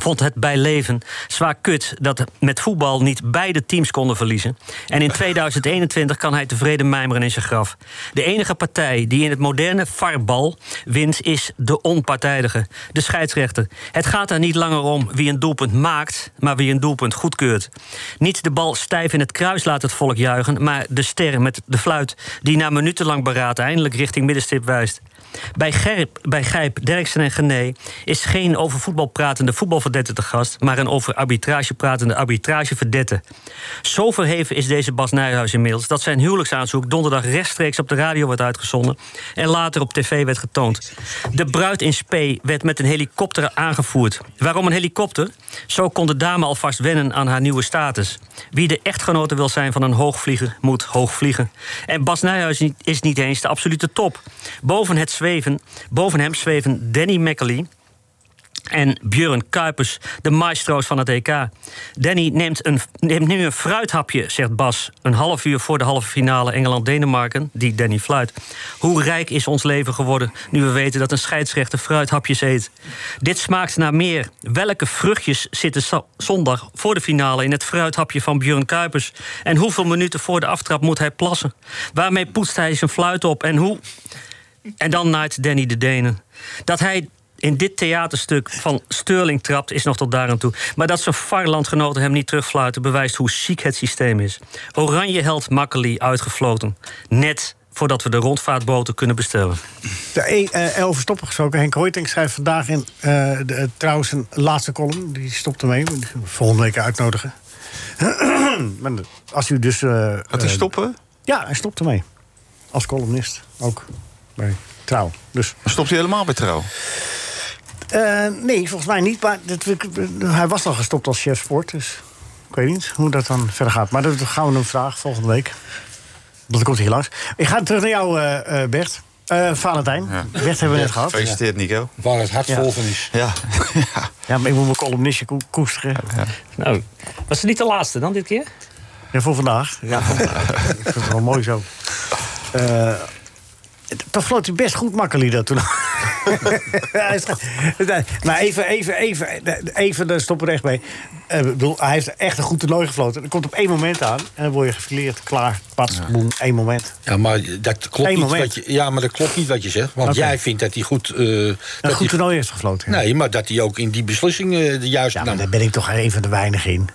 S7: vond het bij leven zwaar kut dat met voetbal niet beide teams konden verliezen. En in 2021 kan hij tevreden mijmeren in zijn graf. De enige partij die in het moderne varbal wint is de onpartijdige, de scheidsrechter. Het gaat er niet langer om wie een doelpunt maakt, maar wie een doelpunt goedkeurt. Niet de bal stijf in het kruis laat het volk juichen, maar de ster met de fluit die na minutenlang beraad eindelijk richting middenstip wijst. Bij, Gerp, bij Gijp, Derksen en Gené is geen over voetbal pratende voetbalverdette te gast, maar een over arbitrage pratende arbitrageverdette. Zo verheven is deze Bas Nijhuis inmiddels dat zijn huwelijksaanzoek donderdag rechtstreeks op de radio werd uitgezonden en later op tv werd getoond. De bruid in Spee werd met een helikopter aangevoerd. Waarom een helikopter? Zo kon de dame alvast wennen aan haar nieuwe status. Wie de echtgenote wil zijn van een hoogvlieger, moet hoog vliegen. En Bas Nijhuis ni- is niet eens de absolute top. Boven, het zweven, boven hem zweven Danny McAlee en Björn Kuipers, de maestro's van het EK. Danny neemt, een, neemt nu een fruithapje, zegt Bas... een half uur voor de halve finale Engeland-Denemarken, die Danny fluit. Hoe rijk is ons leven geworden nu we weten dat een scheidsrechter fruithapjes eet. Dit smaakt naar meer. Welke vruchtjes zitten za- zondag voor de finale... in het fruithapje van Björn Kuipers? En hoeveel minuten voor de aftrap moet hij plassen? Waarmee poetst hij zijn fluit op en hoe... En dan naait Danny de Denen. Dat hij in dit theaterstuk van Sterling trapt, is nog tot daar aan toe. Maar dat zijn varlandgenoten hem niet terugfluiten... bewijst hoe ziek het systeem is. Oranje held Makkeli uitgefloten. Net voordat we de rondvaartboten kunnen bestellen.
S3: De e eh, elf is stoppen gesproken. Henk Hoytink schrijft vandaag in eh, de, eh, trouwens een laatste column. Die stopt ermee. Die gaan we Volgende week uitnodigen. Maar als u dus. eh,
S8: Gaat hij
S3: eh,
S8: stoppen?
S3: Ja, hij stopt ermee. Als columnist ook. Bij trouw. Dus.
S8: Stopt hij helemaal bij trouw?
S3: Eh, nee, volgens mij niet. Maar dat, hij was al gestopt als chef sport. Dus ik weet niet hoe dat dan verder gaat. Maar dat gaan we hem vragen volgende week. Dat komt hier langs. Ik ga terug naar jou, eh, eh, Bert. Eh, Valentijn. Bert hebben we net gehad.
S8: Gefeliciteerd, Nico.
S4: Waar het hart
S3: Ja.
S4: vol van is.
S8: Ja.
S3: Ja, maar ik moet mijn columnistje ko- koesteren.
S7: Nou, was het niet de laatste dan dit keer?
S3: Ja, voor vandaag. Ja, voor vandaag. ik vind het wel mooi zo. Eh, dat vloot hij best goed makkelijk dat toen. Hij is ge- Nee, maar even, even, even, even, daar stoppen we echt mee. Eh, Ik bedoel, hij heeft echt een goed toernooi gefloten. Er komt op één moment aan en dan word je gefileerd. Klaar, pats, boem, één moment.
S4: Ja, maar dat klopt,
S3: Eén
S4: niet
S3: moment.
S4: wat je, ja, maar dat klopt niet wat je zegt. Want
S3: Oké.
S4: jij vindt dat hij goed... eh, dat
S3: Een goed
S4: hij-
S3: toernooi heeft gefloten. ja.
S4: Nee, maar dat hij ook in die beslissingen de juiste
S3: Ja,
S4: nam.
S3: maar daar ben ik toch een van de weinigen in.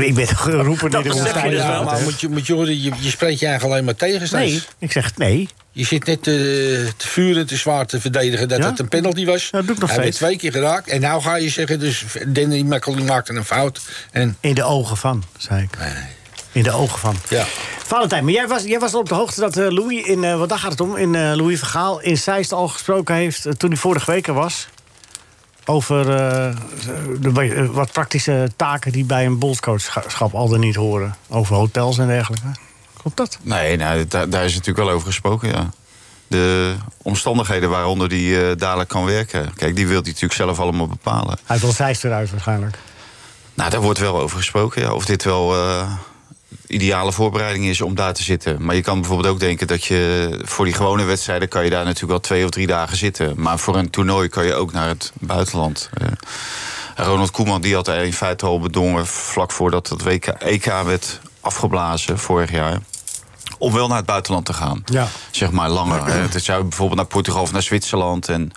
S3: ik ben toch een roeper die
S7: Dat
S3: de
S7: besef je
S3: woestijn
S7: dus
S3: is.
S7: wel.
S4: Ja, maar moet je, moet je, horen, je, je spreekt je eigenlijk alleen maar tegen.
S3: Nee, ik zeg nee.
S4: Je zit net eh, te vuren en te zwaar te verdedigen dat
S3: Ja?
S4: het een penalty was.
S3: Ja, dat doe ik nog
S4: Hij werd
S3: steeds.
S4: twee keer geraakt. En nou ga je zeggen, dus Danny Makkely maakte een fout. En
S3: In de ogen van, zei ik. In de ogen van.
S4: ja,
S3: Valentijn, maar jij was, jij was al op de hoogte dat eh, Louis, in, eh, wat daar gaat het om, in eh, Louis Vergaal in Zeist al gesproken heeft eh, toen hij vorige week er was. Over eh, de, eh, wat praktische taken die bij een bondscoachschap al dan niet horen. Over hotels en dergelijke. Klopt dat?
S8: Nee, nou, daar, daar is natuurlijk wel over gesproken, ja. De omstandigheden waaronder die eh, dadelijk kan werken. Kijk, die wil hij natuurlijk zelf allemaal bepalen.
S3: Hij wil Zeist eruit waarschijnlijk.
S8: Nou, daar wordt wel over gesproken, ja. Of dit wel eh, ideale voorbereiding is om daar te zitten. Maar je kan bijvoorbeeld ook denken dat je... voor die gewone wedstrijden kan je daar natuurlijk wel twee of drie dagen zitten. Maar voor een toernooi kan je ook naar het buitenland. Eh, Ronald Koeman die had er in feite al bedongen... vlak voordat het WK, EK werd afgeblazen vorig jaar... om wel naar het buitenland te gaan
S3: Ja.
S8: zeg maar langer. hè. Het zou bijvoorbeeld naar Portugal of naar Zwitserland. En,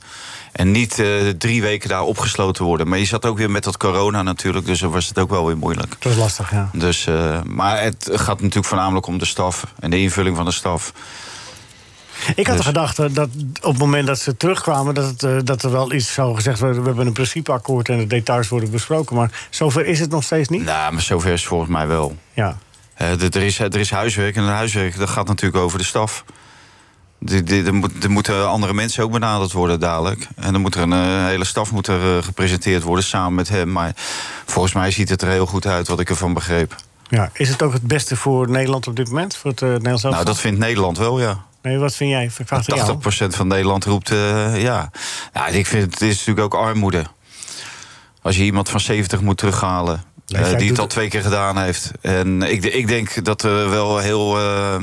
S8: en niet eh, drie weken daar opgesloten worden. Maar je zat ook weer met dat corona natuurlijk. Dus dan was het ook wel weer moeilijk.
S3: Dat is lastig, ja.
S8: Dus, eh, maar het gaat natuurlijk voornamelijk om de staf. En de invulling van de staf.
S3: Ik had de
S8: Dus-
S3: gedachte dat op het moment dat ze terugkwamen... dat, het, eh, dat er wel iets zou gezegd worden. We hebben een principeakkoord en de details worden besproken. Maar zover is het nog steeds niet.
S8: Nou, maar zover is het volgens mij wel.
S3: Ja.
S8: Eh, d- er, is, er is huiswerk en dat huiswerk dat gaat natuurlijk over de staf. Die- die- Er moet- er moeten andere mensen ook benaderd worden dadelijk. En dan moet er een eh, hele staf moet er, eh, gepresenteerd worden samen met hem. Maar volgens mij ziet het er heel goed uit wat ik ervan begreep.
S3: Ja, is het ook het beste voor Nederland op dit moment? Voor het eh, Nederlands
S8: Nou,
S3: elftal?
S8: dat vindt Nederland wel, ja.
S3: Nee, wat vind jij? Ik vraag het aan jou.
S8: 80% van Nederland roept eh, ja. Nou, ik vind het is natuurlijk ook armoede. Als je iemand van 70 moet terughalen. eh,
S3: Leeftijd
S8: die
S3: doet
S8: het al
S3: het.
S8: twee keer gedaan heeft. En ik, de- ik denk dat er wel heel eh,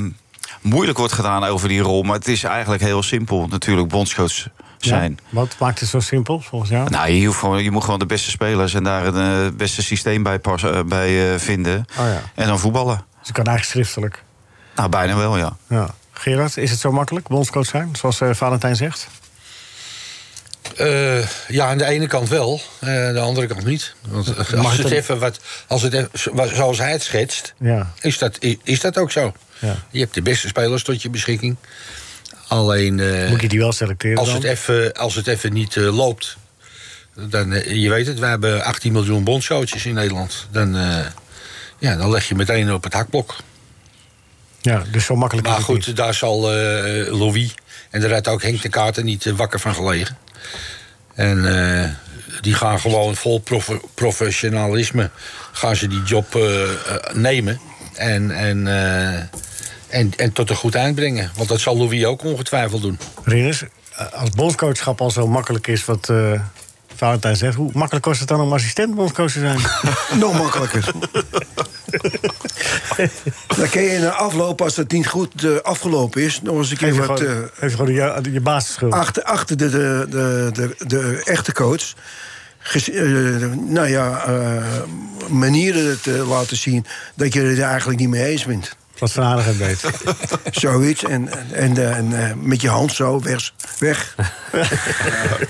S8: moeilijk wordt gedaan over die rol. Maar het is eigenlijk heel simpel. Natuurlijk bondscoach zijn.
S3: Ja, wat maakt het zo simpel volgens jou?
S8: Nou, je, hoeft gewoon, je moet gewoon de beste spelers en daar het eh, beste systeem bij, pas, eh, bij eh, vinden.
S3: Oh ja.
S8: En dan voetballen.
S3: Dus ik kan eigenlijk schriftelijk.
S8: Nou, bijna wel, ja.
S3: Ja. Gerard, is het zo makkelijk, bondscoach zijn, zoals eh, Valentijn zegt?
S4: Eh, ja, aan de ene kant wel, eh, aan de andere kant niet. Want eh,
S3: Mag
S4: als
S3: het
S4: het
S3: dan-
S4: even wat, als het even, zo- wa- zoals hij het schetst,
S3: Ja.
S4: is, dat, i- is dat ook zo.
S3: Ja.
S4: Je hebt de beste spelers tot je beschikking. Alleen eh,
S3: Moet je die wel selecteren
S4: als,
S3: dan?
S4: het even, als het even niet eh, loopt, dan, eh, je weet het, we hebben 18 miljoen bondscoaches in Nederland. Dan, eh, ja, dan leg je meteen op het hakblok.
S3: Ja, dus zo makkelijk
S4: Maar
S3: is het
S4: goed,
S3: niet.
S4: daar zal eh, Louis en daar had ook Henk de Kaarten niet eh, wakker van gelegen. En eh, die gaan gewoon vol profe- professionalisme gaan ze die job eh, eh, nemen en, en, eh, en, en tot een goed eind brengen. Want dat zal Louis ook ongetwijfeld doen.
S3: Rinus, eh, als bondscoachschap al zo makkelijk is wat eh, Valentijn zegt... hoe makkelijk was het dan om assistent bondscoach te zijn?
S9: Nog makkelijker. Dan kun je na afloop, als het niet goed eh, afgelopen is, nog eens een keer
S3: Geef je
S9: wat
S3: gewoon,
S9: eh,
S3: geef je, gewoon je, je basisschuld.
S9: achter, achter de, de, de, de, de echte coach. ges- eh, nou ja, eh, manieren te laten zien dat je het er eigenlijk niet mee eens bent.
S3: Wat Van Aardigheid weet.
S9: Zoiets. En, en, en, eh, en, eh, met je hand zo weg. weg.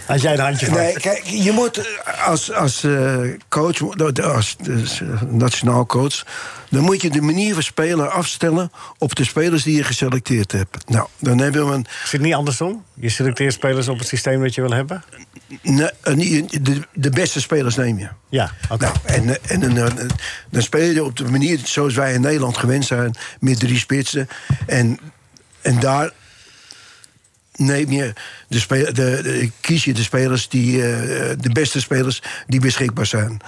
S3: Had jij een handje van?
S9: Nee, kijk, je moet als, als eh, coach, als eh, nationaal coach... dan moet je de manier van spelen afstellen op de spelers die je geselecteerd hebt. Nou, dan hebben we een...
S3: Is het niet andersom? Je selecteert spelers op het systeem dat je wil hebben?
S9: ne- een- de, de beste spelers neem je.
S3: Ja, oké.
S9: Nou, en, eh, en, eh, eh, dan speel je op de manier zoals wij in Nederland gewend zijn... met drie spitsen. En, en daar neem je de spe- de, de- kies je de spelers die eh, de beste spelers die beschikbaar zijn.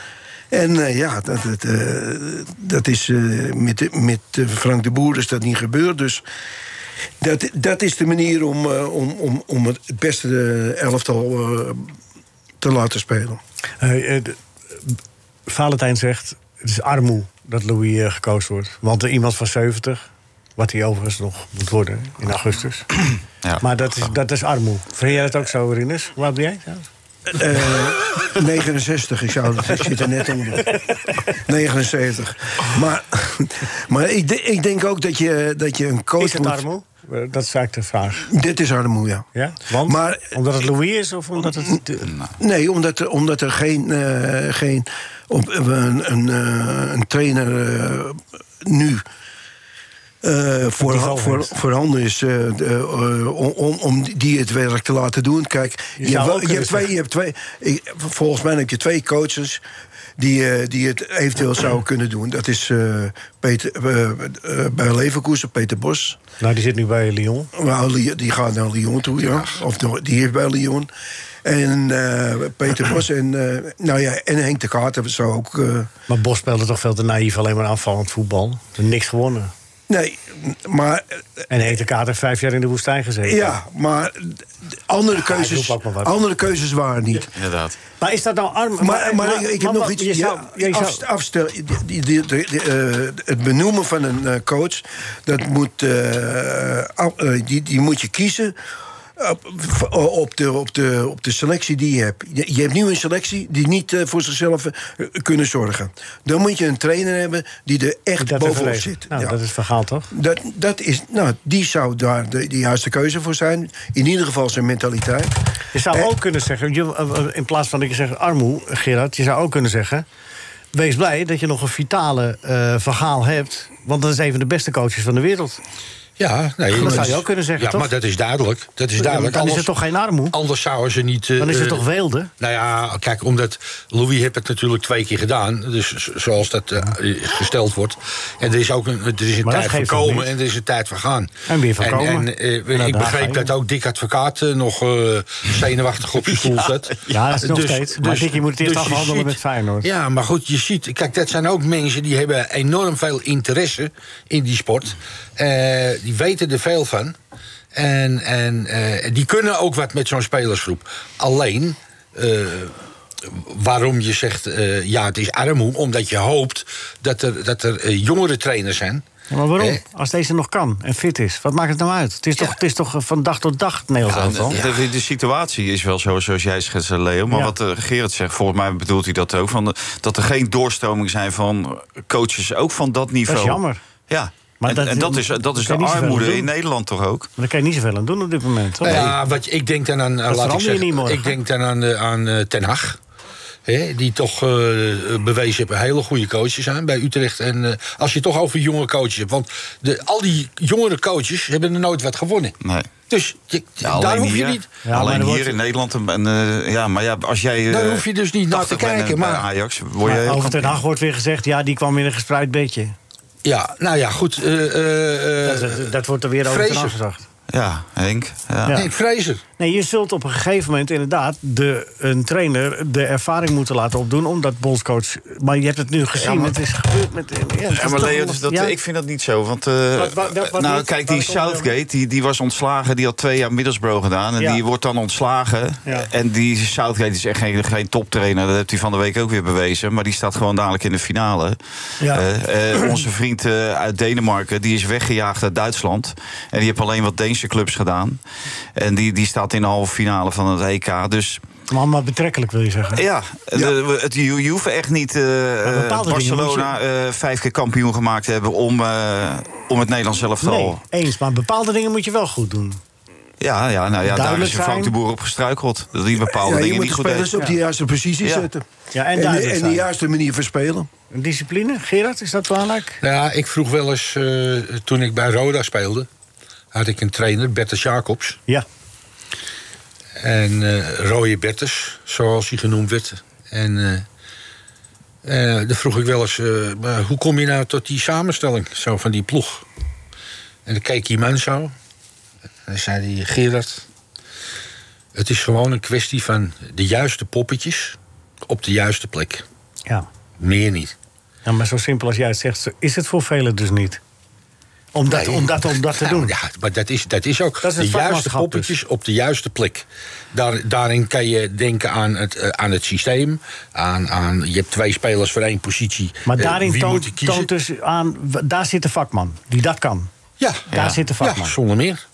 S9: En eh, ja, dat, dat, eh, dat is eh, met, met eh, Frank de Boer is dat niet gebeurd. Dus dat, dat is de manier om, eh, om, om, om het beste eh, elftal eh, te laten spelen.
S3: Eh, eh, de- Valentijn zegt, het is armoe dat Louis eh, gekozen wordt. Want er iemand van 70 Wat die overigens nog moet worden in augustus.
S8: Ja.
S3: Maar dat is, dat is armoe. Vind jij dat ook zo, Rinus? Wat ben jij?
S9: Eh, 69, ik, zou, ik zit er net onder. 79. Maar, maar ik, de- ik denk ook dat je, dat je een coach
S3: Is het
S9: moet...
S3: armoe? Eh, Dat is eigenlijk de vraag.
S9: Dit is armoe, ja.
S3: Ja? Want?
S9: Maar-
S3: omdat het Louis is of omdat het... de-
S9: Nee, omdat er, omdat er geen, eh, geen op, een, een, eh, een trainer eh, nu eh, voor,
S3: niveau
S9: voor,
S3: heeft.
S9: voorhanden is eh, eh, om, om, om die het werk te laten doen. Kijk, je,
S3: zou
S9: hebt,
S3: ook
S9: wel- je,
S3: kunnen
S9: hebt twee, je hebt twee. ik- volgens mij heb je twee coaches die, eh, die het eventueel zouden kunnen doen. Dat is eh, Peter, eh, eh, bij Leverkusen, Peter Bos.
S3: Nou, die zit nu bij Lyon.
S9: Nou, Ly- die gaat naar Lyon toe, ja. Of de- die is bij Lyon. En eh, Peter Bos en, eh, nou ja, en Henk de Kaarten zou ook... eh,
S3: Maar Bos speelde toch veel te naïef, alleen maar aanvallend voetbal. Niks gewonnen.
S9: nee, maar...
S3: En heeft de kater vijf jaar in de woestijn gezeten.
S9: Ja, maar d- andere
S3: roept
S9: keuzes,
S3: ook maar wat.
S9: andere keuzes waren niet.
S8: Inderdaad.
S3: Maar is dat nou arm?
S9: Maar, maar, ik, ik heb
S3: maar-
S9: nog
S3: maar
S9: iets...
S3: Je zou,
S9: ja,
S3: je zou-
S9: afst- afstel, die- die- die- die- die, eh, het benoemen van een eh, coach, dat moet, eh, af- eh, die, die moet je kiezen op, op, de, op, de, op de selectie die je hebt. Je, je hebt nu een selectie die niet eh, voor zichzelf eh, kunnen zorgen. Dan moet je een trainer hebben die er echt
S3: dat even
S9: bovenop
S3: lezen.
S9: zit.
S3: Nou,
S9: Ja.
S3: dat is verhaal toch?
S9: Dat, dat is, nou, die zou daar de, de juiste keuze voor zijn. In ieder geval zijn mentaliteit.
S3: Je zou
S9: Eh,
S3: ook kunnen zeggen, je- eh, eh, in plaats van dat je zegt armoe, Gerard, je zou ook kunnen zeggen. Wees blij dat je nog een vitale eh, verhaal hebt. Want dat is een van de beste coaches van de wereld.
S4: Ja, nee,
S3: Dat zou je
S4: is-
S3: ook kunnen zeggen,
S4: Ja,
S3: toch?
S4: maar dat is duidelijk. Dat is
S3: Ja,
S4: duidelijk.
S3: dan is
S4: Anders-
S3: er toch geen armoe?
S4: Anders zouden ze niet... eh,
S3: Dan is er
S4: eh,
S3: toch weelde?
S4: Nou ja, kijk, omdat Louis heeft het natuurlijk twee keer gedaan. Dus z- zoals dat eh, gesteld wordt. En er is ook een, er is
S3: Maar
S4: een
S3: dat
S4: tijd
S3: geeft
S4: van
S3: nog
S4: komen
S3: niet.
S4: en er is een tijd van gaan.
S3: En weer van
S4: en,
S3: komen.
S4: En, eh,
S3: Nou, daar
S4: ik
S3: ga je
S4: begreep dat ook Dick Advocaat eh, nog eh, zenuwachtig op zijn stoel zat.
S3: ja, dat is nog steeds. Maar Dick, je moet het eerst
S4: Dus- je
S3: afhandelen
S4: ziet-
S3: met Feyenoord.
S4: Ja, maar goed, je ziet... Kijk, dat zijn ook mensen die hebben enorm veel interesse in die sport. Eh, die weten er veel van. En, en eh, die kunnen ook wat met zo'n spelersgroep. Alleen, eh, waarom je zegt, eh, ja, het is armoe... omdat je hoopt dat er, dat er eh, jongere trainers zijn...
S3: Ja, maar waarom?
S4: Eh.
S3: Als deze nog kan en fit is, wat maakt het nou uit? Het is toch, het is toch eh, van dag tot dag het Nederlands
S8: Ja,
S3: aantal?
S8: eh, de, de- de situatie is wel zo, zoals jij schetst, Leo. Maar
S3: Ja.
S8: wat eh, Gerard zegt, volgens mij bedoelt hij dat ook. Van de- dat er geen doorstroming zijn van coaches, ook van dat niveau.
S3: jammer.
S8: Ja,
S3: Maar
S8: en
S3: dat-
S8: dat, en dat is, dat is
S3: kan
S8: de
S3: je niet zoveel aan
S8: armoede
S3: doen.
S8: in Nederland toch ook?
S3: Maar daar kan je niet zoveel aan doen op dit moment. Hoor.
S4: Ja, wat, ik denk dan aan, eh, laat
S3: verander
S4: ik,
S3: je
S4: zeggen,
S3: niet morgen.
S4: ik denk dan aan, eh, aan eh, Ten Hag. Hè, die toch eh, bewezen hebben hele goede coaches zijn bij Utrecht. En eh, als je het toch over jonge coaches hebt. Want de, al die jongere coaches hebben er nooit wat gewonnen.
S8: Nee.
S4: Dus je-
S3: Nou,
S8: Ja,
S4: daar hoef
S8: alleen
S4: je
S8: hier,
S4: niet.
S3: Ja, maar
S8: alleen
S3: er
S8: hier
S3: wordt-
S8: in Nederland. En, en, eh, ja, maar ja, als jij. eh,
S4: Daar hoef je dus niet naar te
S8: 80 bent en
S4: kijken,
S8: bij
S4: maar-
S8: Ajax word je
S3: Maar
S8: heel
S3: over Den
S8: kampioen.
S3: Haag wordt weer gezegd, ja, die kwam in een gespreid bedje.
S4: Ja, nou ja, goed. eh eh, eh,
S3: Dat, dat- dat wordt er weer over Ten
S4: Vrezer.
S3: Hag gezegd.
S8: Ja, Henk. Ja.
S3: Ja.
S4: Henk Vrezer.
S3: Nee, je zult op een gegeven moment inderdaad de, een trainer de ervaring moeten laten opdoen. Omdat bondscoach. Maar je hebt het nu gezien. het is gebeurd met. Ja, het is
S8: Ja, maar
S3: toch
S8: Leo,
S3: wel-
S8: dus dat,
S3: ja.
S8: ik vind dat niet zo. Want, eh,
S3: Wat- wat- wat- wat
S8: nou,
S3: niet?
S8: kijk, die
S3: Waar komt-
S8: Southgate, die, die was ontslagen. Die had twee jaar Middlesbrough gedaan. En
S3: Ja.
S8: die wordt dan ontslagen.
S3: Ja.
S8: En die Southgate is echt geen, geen toptrainer. Dat heeft hij van de week ook weer bewezen. Maar die staat gewoon dadelijk in de finale.
S3: Ja.
S8: Eh, eh, onze vriend eh, uit Denemarken, die is weggejaagd uit Duitsland. En die heeft alleen wat Deense clubs gedaan. En die, die staat in de halve finale van het EK. Dus...
S3: Maar, maar betrekkelijk wil je zeggen.
S8: Ja, de- het, je, je hoeft echt niet eh, eh,
S3: bepaalde
S8: Barcelona eh, vijf keer kampioen gemaakt te hebben om, eh, om het Nederlands elftal.
S3: Nee, eens. Maar bepaalde dingen moet je wel goed doen.
S8: Ja, ja, nou ja, daar
S3: Duidelijk
S8: is Frank de
S3: zijn.
S8: Boer op gestruikeld. Dat die bepaalde
S9: ja, je
S8: dingen
S9: moet
S8: niet
S9: de
S8: goed
S9: spelers
S8: deed.
S9: op de juiste positie
S8: Ja.
S9: zetten.
S3: Ja, en
S9: en,
S3: duidelijk
S9: de
S3: zijn.
S9: juiste manier verspelen.
S3: Een Discipline, Gerard, is dat belangrijk?
S4: Nou ja, ik vroeg wel eens. eh, toen ik bij Roda speelde. had ik een trainer, Bertus Jacobs.
S3: Ja.
S4: En eh Rooie Bertus, zoals hij genoemd werd. En eh, eh, daar vroeg ik wel eens, eh, maar hoe kom je nou tot die samenstelling zo van die ploeg? En dan keek die man zo. En dan zei hij, Gerard, het is gewoon een kwestie van de juiste poppetjes op de juiste plek.
S3: ja.
S4: Meer niet.
S3: Ja, maar zo simpel als jij het zegt, is het voor velen dus niet. Om dat,
S4: Nee.
S3: om dat, om dat te
S4: Nou,
S3: doen.
S4: Ja, maar dat is, dat is ook
S3: Dat is het
S4: de juiste
S3: vakmanschap dus.
S4: poppetjes op de juiste plek. Daar, daarin kan je denken aan het, eh, aan het systeem. Aan, aan, je hebt twee spelers voor één positie.
S3: Maar
S4: Eh,
S3: daarin
S4: wie moet je
S3: toont,
S4: kiezen?
S3: toont dus aan, w- daar zit de vakman die dat kan.
S4: Ja,
S3: Daar zit de vakman.
S4: Ja, zonder meer.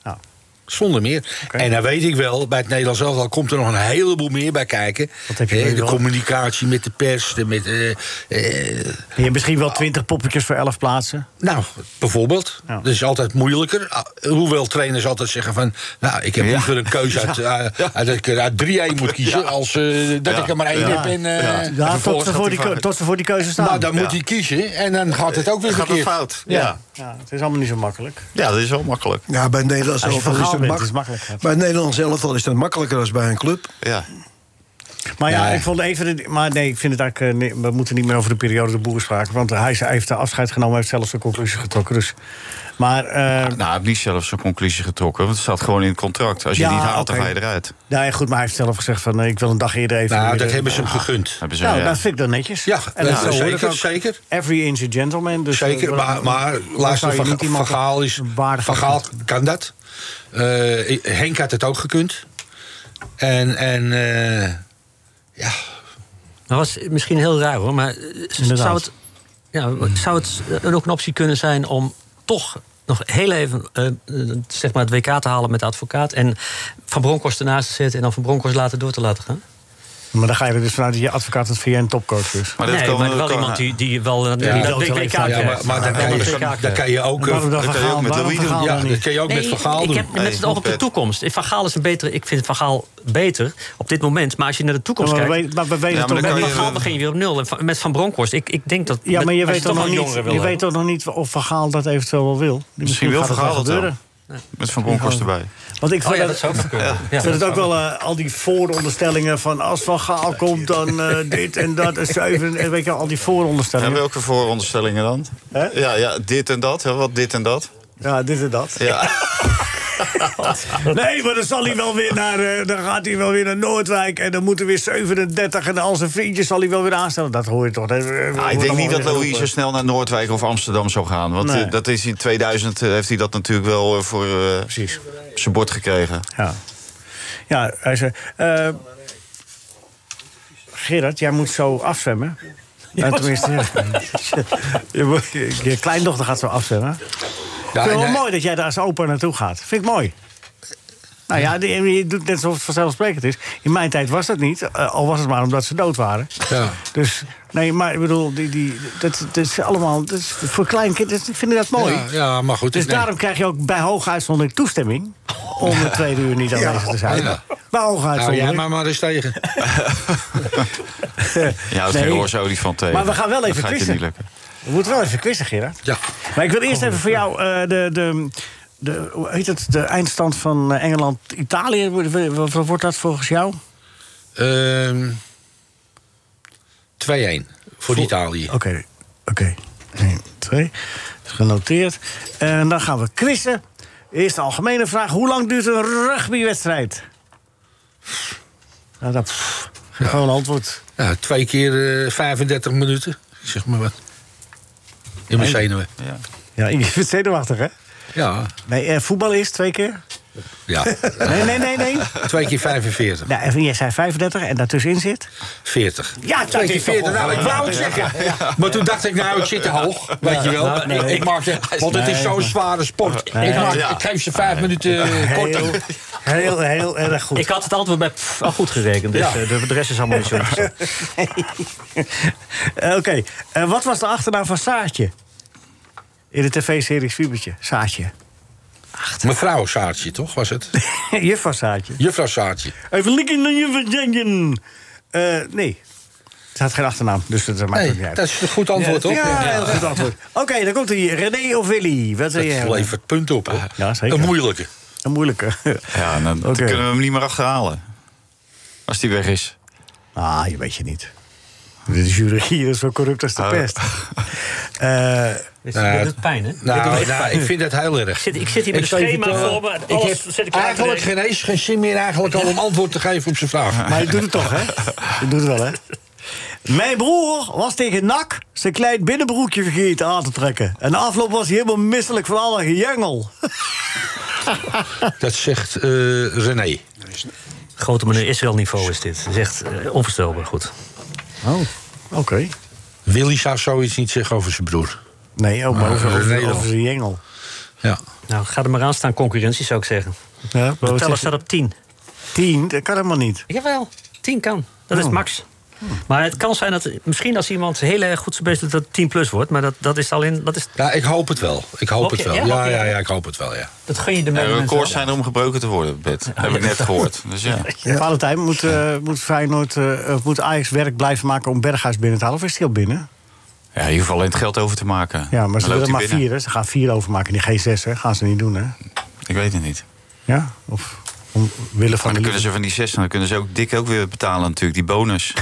S4: Zonder meer. En dan weet ik wel, bij het Nederlands elftal komt er nog een heleboel meer bij kijken.
S3: heb je
S4: Hè,
S3: nu
S4: de
S3: wel.
S4: communicatie met de pers. De, met, eh, eh,
S3: Je hebt misschien wel twintig poppetjes voor elf plaatsen.
S4: nou, bijvoorbeeld.
S3: Ja.
S4: Dat is altijd moeilijker. Ah, Hoewel trainers altijd zeggen van... Nou, ik heb
S8: Ja.
S4: liever een keuze uit, eh, uit, dat ik er uit 3-1 moet kiezen... als eh, dat
S8: Ja.
S4: ik er maar één
S8: Ja.
S4: heb. En, eh,
S8: Ja.
S3: Ja,
S8: vervolgens
S3: tot,
S8: gaat
S3: ze voor
S8: hij
S3: die,
S8: van-
S3: keu- tot ze voor die keuze staan.
S4: Nou, dan
S8: Ja.
S4: moet hij kiezen en dan gaat het ook weer
S8: Gaat dat
S4: verkeerd.
S8: fout? Ja.
S3: Ja, het is allemaal niet zo makkelijk.
S8: ja, dat is wel makkelijk.
S9: Ja, bij het Nederlands
S3: Als je Van
S9: elftal is
S3: Gaal
S9: het
S3: bent,
S9: mak-
S3: is het makkelijker.
S9: Bij het Nederlands elftal is dat makkelijker dan bij een club.
S8: Ja.
S3: Maar ja,
S4: Nee.
S3: ik vond even. de- maar nee, ik vind het eigenlijk. eh, nee, we moeten niet meer over de periode de boer spraken. Want hij, is- hij heeft de afscheid genomen. Hij heeft zelfs de conclusie getrokken. Dus. Maar. eh,
S8: Nou, hij heeft niet zelf zijn conclusie getrokken. Want het staat gewoon in het contract. Als je
S3: Ja,
S8: het niet haalt, dan
S3: oké.
S8: ga je eruit.
S3: nou ja, goed, maar hij heeft zelf gezegd: van eh, ik wil een dag eerder even.
S4: Nou,
S3: weer,
S4: dat
S3: eh,
S4: hebben ze hem gegund.
S8: Hebben ze,
S3: Nou,
S8: ja.
S3: dat vind ik dan netjes.
S4: Ja,
S3: en
S4: eh,
S3: dat zo hoort het
S4: zeker,
S3: ook.
S4: zeker.
S3: Every inch a gentleman. Dus
S4: Zeker,
S3: eh,
S4: maar,
S3: dan-
S4: maar
S3: dan
S4: luister,
S3: zou je
S4: van,
S3: niet iemand
S4: van Gaal is...
S3: een
S4: Van
S3: waardige-
S4: Gaal kan dat. Eh, Henk had het ook gekund. En, en eh, ja,
S7: Dat was misschien heel raar hoor, maar eh, zou het, ja, zou het eh, ook een optie kunnen zijn om toch nog heel even eh, eh, zeg maar het WK te halen met de advocaat en Van Bronckhorst ernaast te zetten en dan Van Bronckhorst later door te laten gaan?
S3: Maar dan ga je er dus vanuit dat je advocaat het VN topcoach is.
S8: Maar dat
S7: nee,
S8: kan-
S7: maar wel
S8: kan-
S7: iemand die, die wel eh,
S4: eh, Ja,
S7: die
S4: dat
S7: dat
S3: wel
S7: WK
S3: even- Ah, ja,
S4: ja, maar,
S7: krijgt.
S4: maar dan,
S7: Dat
S4: kan
S7: wel
S4: je,
S7: WK krijgt.
S4: dan kan je ook... eh,
S3: Waarom
S8: dat
S3: dan van
S8: kan je ook
S3: Gaal?
S8: met
S3: Waarom
S8: Louis
S3: van
S8: doen. dus
S3: Gaal
S4: Ja,
S3: dan
S4: dat
S3: niet?
S4: kan je ook met
S7: Nee,
S4: Van Gaal
S7: ik
S4: doen.
S7: heb met het oog op de
S8: Peter.
S7: toekomst. Van Gaal is een betere. Ik vind Van Gaal beter op dit moment. Maar als je naar de toekomst
S3: Maar we
S7: kijkt.
S3: weten- maar we weten
S8: Ja, maar
S3: toch
S8: dan
S7: Met
S8: kan
S3: wel-
S7: Van
S8: je- eh,
S7: Gaal begin je weer op nul. En van- met Van Bronckhorst. Ik, ik denk dat.
S3: Ja, maar je
S7: als
S3: weet toch
S7: toch
S3: nog
S7: een
S3: niet,
S7: jongere wil
S3: je
S7: hebben.
S3: weet toch nog niet of Van Gaal dat eventueel wel wil.
S8: Misschien wil
S3: gaat
S8: Van
S3: het
S8: Gaal dat wel.
S3: gebeuren.
S8: Met Van Bronckhorst
S3: Misschien
S8: erbij.
S3: Want ik
S7: Oh
S3: vind
S7: ja,
S3: dat,
S7: dat zou ook kunnen.
S3: ik vind het ook wel eh, al die vooronderstellingen van als Van Gaal komt dan eh, dit en dat en zeven en weet je wel, al die
S8: En
S3: vooronderstellingen.
S8: welke vooronderstellingen dan?
S3: Hè?
S8: Ja, ja, dit en dat. hè, Wat dit en dat.
S3: Ja, dit en dat.
S8: Ja.
S3: Nee, maar dan zal hij wel weer naar, eh, dan gaat hij wel weer naar Noordwijk en dan moeten weer 37 en al zijn vriendjes zal hij wel weer aanstellen. Dat hoor je toch? Dat, eh, wordt
S8: Ah, ik denk
S3: allemaal
S8: niet dat
S3: weer
S8: Louis zo
S3: geroepen.
S8: snel naar Noordwijk of Amsterdam zou gaan. Want
S3: Nee.
S8: eh, dat is in 2000 heeft hij dat natuurlijk wel eh, voor eh,
S3: Precies.
S8: zijn bord gekregen.
S3: Ja. Ja, hij zei. eh, Gerard, jij moet zo afzwemmen. Ja, tenminste, ja. je, moet- je- je kleindochter gaat zo afzwemmen.
S4: Ja,
S3: Ik vind het
S4: en,
S3: wel
S4: eh,
S3: mooi dat jij daar als opa naartoe gaat. Vind ik mooi. Nou ja, die- je doet net alsof het vanzelfsprekend is. In mijn tijd was dat niet, eh, al was het maar omdat ze dood waren.
S4: Ja.
S3: Dus, nee, maar ik bedoel, die, die, dat, dat is allemaal... Dat is voor kleinkinderen dus, vinden dat mooi.
S4: ja, ja, maar goed.
S3: Dus
S4: nee.
S3: daarom krijg je ook bij hoge uitzondering toestemming... om de tweede uur niet aanwezig te zijn.
S4: Nou, Ja.
S3: Bij hoge
S4: Hou jij
S3: uitzondering.
S4: maar maar eens tegen.
S8: Ja, dat
S3: Nee.
S8: nee. geen olifant tegen.
S3: Maar we gaan wel
S8: Dat
S3: even
S8: gaat je
S3: quizzen.
S8: niet lukken.
S3: We moeten wel even quizzen, Gerard.
S4: Ja.
S3: Maar ik wil eerst even voor jou eh, de, de, de, hoe heet het, de eindstand van eh, Engeland-Italië. Wat- Wat wat wordt dat volgens jou?
S4: Ehm, 2-1 voor Italië.
S3: Oké, oké. 1, 2. Is genoteerd. En dan gaan we quizzen. Eerst de algemene vraag. Hoe lang duurt een rugbywedstrijd? Nou, dat... pff, Gewoon een antwoord.
S4: Ja, twee keer eh, 35 minuten. Zeg maar wat. In mijn zenuwen.
S3: Ja, je bent zenuwachtig, hè?
S4: Ja.
S3: Nee, eh, voetbal is twee keer.
S4: ja.
S3: Nee, nee, nee, nee.
S4: Twee keer 45.
S3: Nou, en jij zei 35 en daartussenin zit...
S4: 40.
S3: Ja,
S4: Twee
S3: dat
S4: keer
S3: is toch
S4: 40. Nou, ik wou het
S3: ongelooflijk.
S4: zeggen. Maar toen dacht ik, nou, ik zit te hoog. Weet je wel.
S7: nee.
S4: Ik- Ik maak het, want het is zo'n zware sport. Ik, maak, ik geef ze vijf minuten eh,
S3: Heel,
S4: korting.
S3: heel, heel erg goed.
S7: Ik had het antwoord bij pff, al goed gerekend. Dus
S4: Ja.
S7: eh, de, de rest is allemaal niet zo interessant.
S3: Eh, Oké, Eh, wat was de achternaam van Saartje? In de tv-serie Fiebertje. Saartje.
S4: Mevrouw Saartje, toch, was het?
S3: Juffrouw Saartje.
S4: Juffrouw Saartje.
S3: Even likken naar je verdenken. Eh, nee. Ze had geen achternaam, dus dat maakt ook
S4: Nee,
S3: niet uit.
S4: dat is een goed antwoord, toch?
S3: ja, heel goed antwoord. Oké, dan komt hij. René of Willy? Wat wil je
S4: Dat
S3: hebben?
S4: levert punten op, hoor.
S3: Ja, zeker.
S4: Een moeilijke.
S3: Een moeilijke.
S8: Ja, en dan
S3: Oké.
S8: kunnen we hem niet meer achterhalen. Als die weg is.
S3: Ah, je weet je niet. De jury hier is zo corrupt als de
S8: Oh.
S3: pest. Eh,
S7: Dus
S4: Nou,
S7: dat doet pijn, hè?
S4: Nou, nou, ik vind dat heel erg.
S7: Ik zit, ik zit hier met
S4: Ik
S7: een
S4: zal je
S7: schema
S4: vertellen,
S7: voor me.
S4: ik
S7: Alles zit
S4: heb
S7: ik uit te
S4: eigenlijk
S7: rekenen.
S4: geen eens geen zin meer eigenlijk al om antwoord te geven op zijn vraag.
S3: Maar je doet het toch, hè? Je doet het wel, hè? Mijn broer was tegen NAC zijn klein binnenbroekje vergeten aan te trekken. En de afloop was hij helemaal misselijk van alle gejengel.
S4: Dat zegt eh, René.
S7: Grote meneer Israël niveau is dit. Dat is echt eh, onvoorstelbaar goed.
S3: Oh, oké.
S4: Willy zou zoiets niet zeggen over zijn broer.
S3: Nee, ook maar over,
S4: Ah,
S3: over,
S4: nee,
S3: over zijn jengel.
S4: Ja.
S7: Nou, ga er maar aan staan, concurrentie zou ik zeggen.
S3: Ja,
S7: De
S3: wat
S7: teller
S3: zeg
S7: staat
S3: je?
S7: op 10.
S3: 10? Dat kan helemaal niet.
S7: Jawel, 10 kan. Dat is
S3: Oh.
S7: max. Maar het kan zijn dat misschien als iemand heel erg goed zijn bezig is, dat het 10 plus wordt. Maar dat, dat is alleen. Dat, is,
S4: Ja, ik hoop het wel. Ik hoop
S7: Hoop
S4: het
S7: je-
S4: wel.
S7: ja,
S4: Ja,
S7: hoop
S4: ja,
S7: je-
S4: ja, ik hoop het wel, ja.
S7: dat gun je de mensen.
S8: Er Eh, records
S7: wel.
S8: zijn er om gebroken te worden, Bert. Heb ik net gehoord. Dus ja.
S3: Valentijn, moet, eh moet, Feyenoord, eh, of moet Ajax werk blijven maken om Berghuis binnen te halen? Of is hij al binnen?
S8: ja, in ieder geval alleen het geld over te maken.
S3: Ja, maar
S8: Dan loopt
S3: ze willen
S8: hij
S3: maar
S8: binnen.
S3: vier. Hè? Ze gaan vier overmaken. Die G6 hè? gaan ze niet doen. Hè?
S8: Ik weet het niet.
S3: Ja? Of om, willen van
S8: Maar
S3: de
S8: dan kunnen
S3: liefde.
S8: ze van die zes, dan kunnen ze ook dik ook weer betalen natuurlijk, die bonus.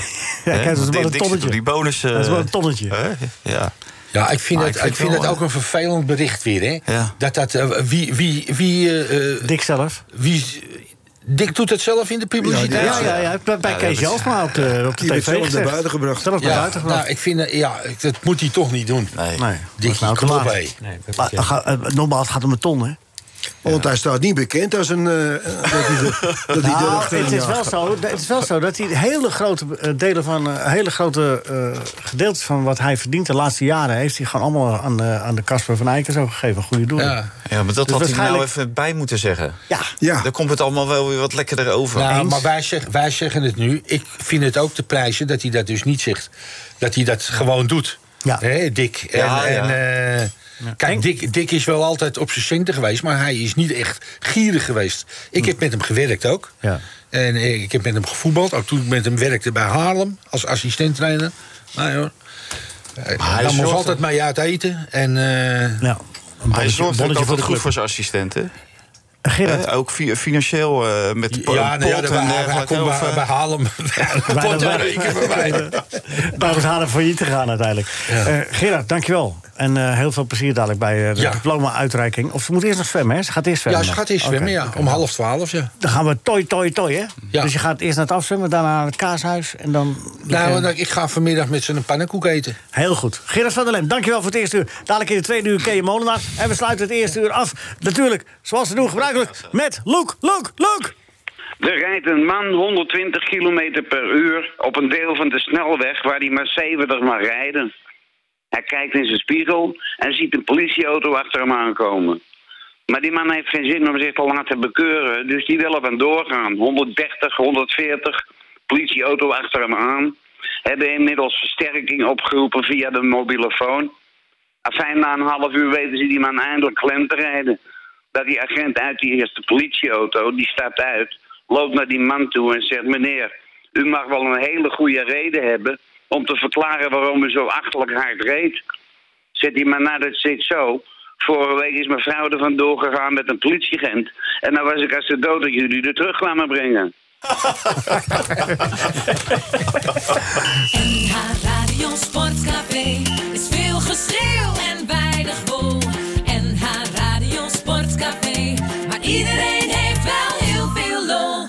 S3: Ja,
S8: Hè?
S3: kijk, dat is
S8: Want
S3: wel
S8: Dick
S3: een
S8: zit op
S3: tonnetje.
S8: Die bonus... eh,
S3: Dat is wel een tonnetje.
S8: hè? Ja.
S4: Ja, ik vind,
S8: Maar
S4: het,
S8: ik
S4: ik
S8: vind
S4: vind,
S8: wel,
S4: het ook
S8: eh,
S4: een vervelend bericht weer, hè?
S8: Ja.
S4: Dat dat, eh, wie, wie, wie, eh, eh,
S3: Dik zelf.
S4: wie... Dick doet het zelf in de publiciteit.
S3: Ja, ja, ja. Bij, bij
S8: Ja,
S3: Kees
S8: dat is-
S3: Jansma op de, op de
S9: Die
S3: tv
S9: werd zelf
S3: gezegd.
S9: naar buiten gebracht.
S3: Zelf naar
S4: Ja,
S3: buiten gebracht.
S4: nou, ik vind, eh, ja, ik- dat moet hij toch niet doen.
S8: Nee.
S3: nee, dat
S4: Dikkie,
S3: is nou te
S4: kom op,
S3: laat.
S4: hé.
S7: Nee, dat
S3: Maar,
S7: is-
S3: eh, ga- eh, nogmaals, het gaat om een ton, hè?
S9: Want hij staat niet bekend als een. eh, dat hij de, dat hij de
S3: Nou,
S9: rechter
S3: het,
S9: in
S3: is
S9: jaagt.
S3: wel zo, het is wel zo dat hij hele grote eh, delen van eh, hele grote eh, gedeeltes van wat hij verdient de laatste jaren heeft hij gewoon allemaal aan, eh, aan de Casper van Eyck en zo gegeven. Goede doel.
S4: Ja.
S8: Ja, maar dat
S3: Dus
S8: had hij nou
S3: waarschijnlijk-
S8: even bij moeten zeggen.
S3: Ja.
S9: Ja.
S8: Dan komt het allemaal wel weer wat lekkerder over.
S4: Nou,
S8: Eens?
S4: maar wij, zeg, wij zeggen het nu. Ik vind het ook te prijzen dat hij dat dus niet zegt. Dat hij dat gewoon doet.
S3: Ja.
S4: Hé, Dick. En,
S8: Ja, ja.
S4: en, eh, Kijk, Dick, Dick is wel altijd op zijn centen geweest, maar hij is niet echt gierig geweest. Ik heb met hem gewerkt ook.
S3: Ja.
S4: En eh, ik heb met hem gevoetbald, ook toen ik met hem werkte bij Haarlem als assistenttrainer. Nou, joh. Hij
S8: hij
S4: nam ons
S8: zorgt-
S4: altijd mee uit eten. En, eh,
S3: Nou, een
S8: hij
S3: bonnetje-
S8: zorgt ook
S3: bonnetje
S8: altijd goed
S3: club.
S8: voor zijn assistenten.
S3: Gerard,
S8: Hè? Ook fi- financieel eh, met de po-
S4: ja, nee, ja,
S8: pot
S4: dat-
S8: en
S4: hij- hij
S8: dergelijke.
S4: kon
S8: Of,
S4: bij,
S8: eh,
S4: bij Haarlem. Pot
S3: wij-
S4: rekenen bij mij.
S3: Daar was Haren failliet te gaan uiteindelijk. Eh Gerard, dankjewel. En eh, heel veel plezier dadelijk bij eh, de
S4: Ja.
S3: diploma-uitreiking. Of ze moet eerst nog zwemmen, hè? Ze gaat eerst zwemmen.
S4: Ja, ze gaat eerst zwemmen,
S3: Oké,
S4: ja.
S3: oké.
S4: Om half twaalf, ja.
S3: Dan gaan we toi, toi, toi, hè?
S4: Ja.
S3: Dus je gaat eerst naar het afzwemmen, daarna naar het kaashuis. En dan... Eh,
S4: Nou, en dan- ik ga vanmiddag met z'n een pannenkoek eten.
S3: Heel goed. Gerard van der Lem, dankjewel voor het eerste uur. Dadelijk in de tweede uur Kees Molenaar. En we sluiten het eerste uur af, natuurlijk, zoals we doen gebruikelijk, met Loek, Loek, Loek.
S11: Er rijdt een man 120 km per uur op een deel van de snelweg waar hij maar 70 mag rijden. Hij kijkt in zijn spiegel en ziet een politieauto achter hem aankomen. Maar die man heeft geen zin om zich te laten bekeuren, dus die wil er van doorgaan. 130, 140, politieauto achter hem aan. Hebben inmiddels versterking opgeroepen via de mobiele phone. Afijn, na een half uur weten ze die man eindelijk klem te rijden. Dat die agent uit die eerste politieauto, die stapt uit, loopt naar die man toe en zegt: Meneer, u mag wel een hele goede reden hebben om te verklaren waarom u zo achterlijk hard reed. Zet die man naar, dat zit zo. Vorige week is mijn vrouw er vandoor gegaan met een politieagent. En dan was ik als de dood dat jullie er terug kwamen brengen.
S5: NH Radio Sportcafé is veel geschreeuw en weinig wol. NH Radio Sportcafé, maar iedereen heeft wel heel veel lol.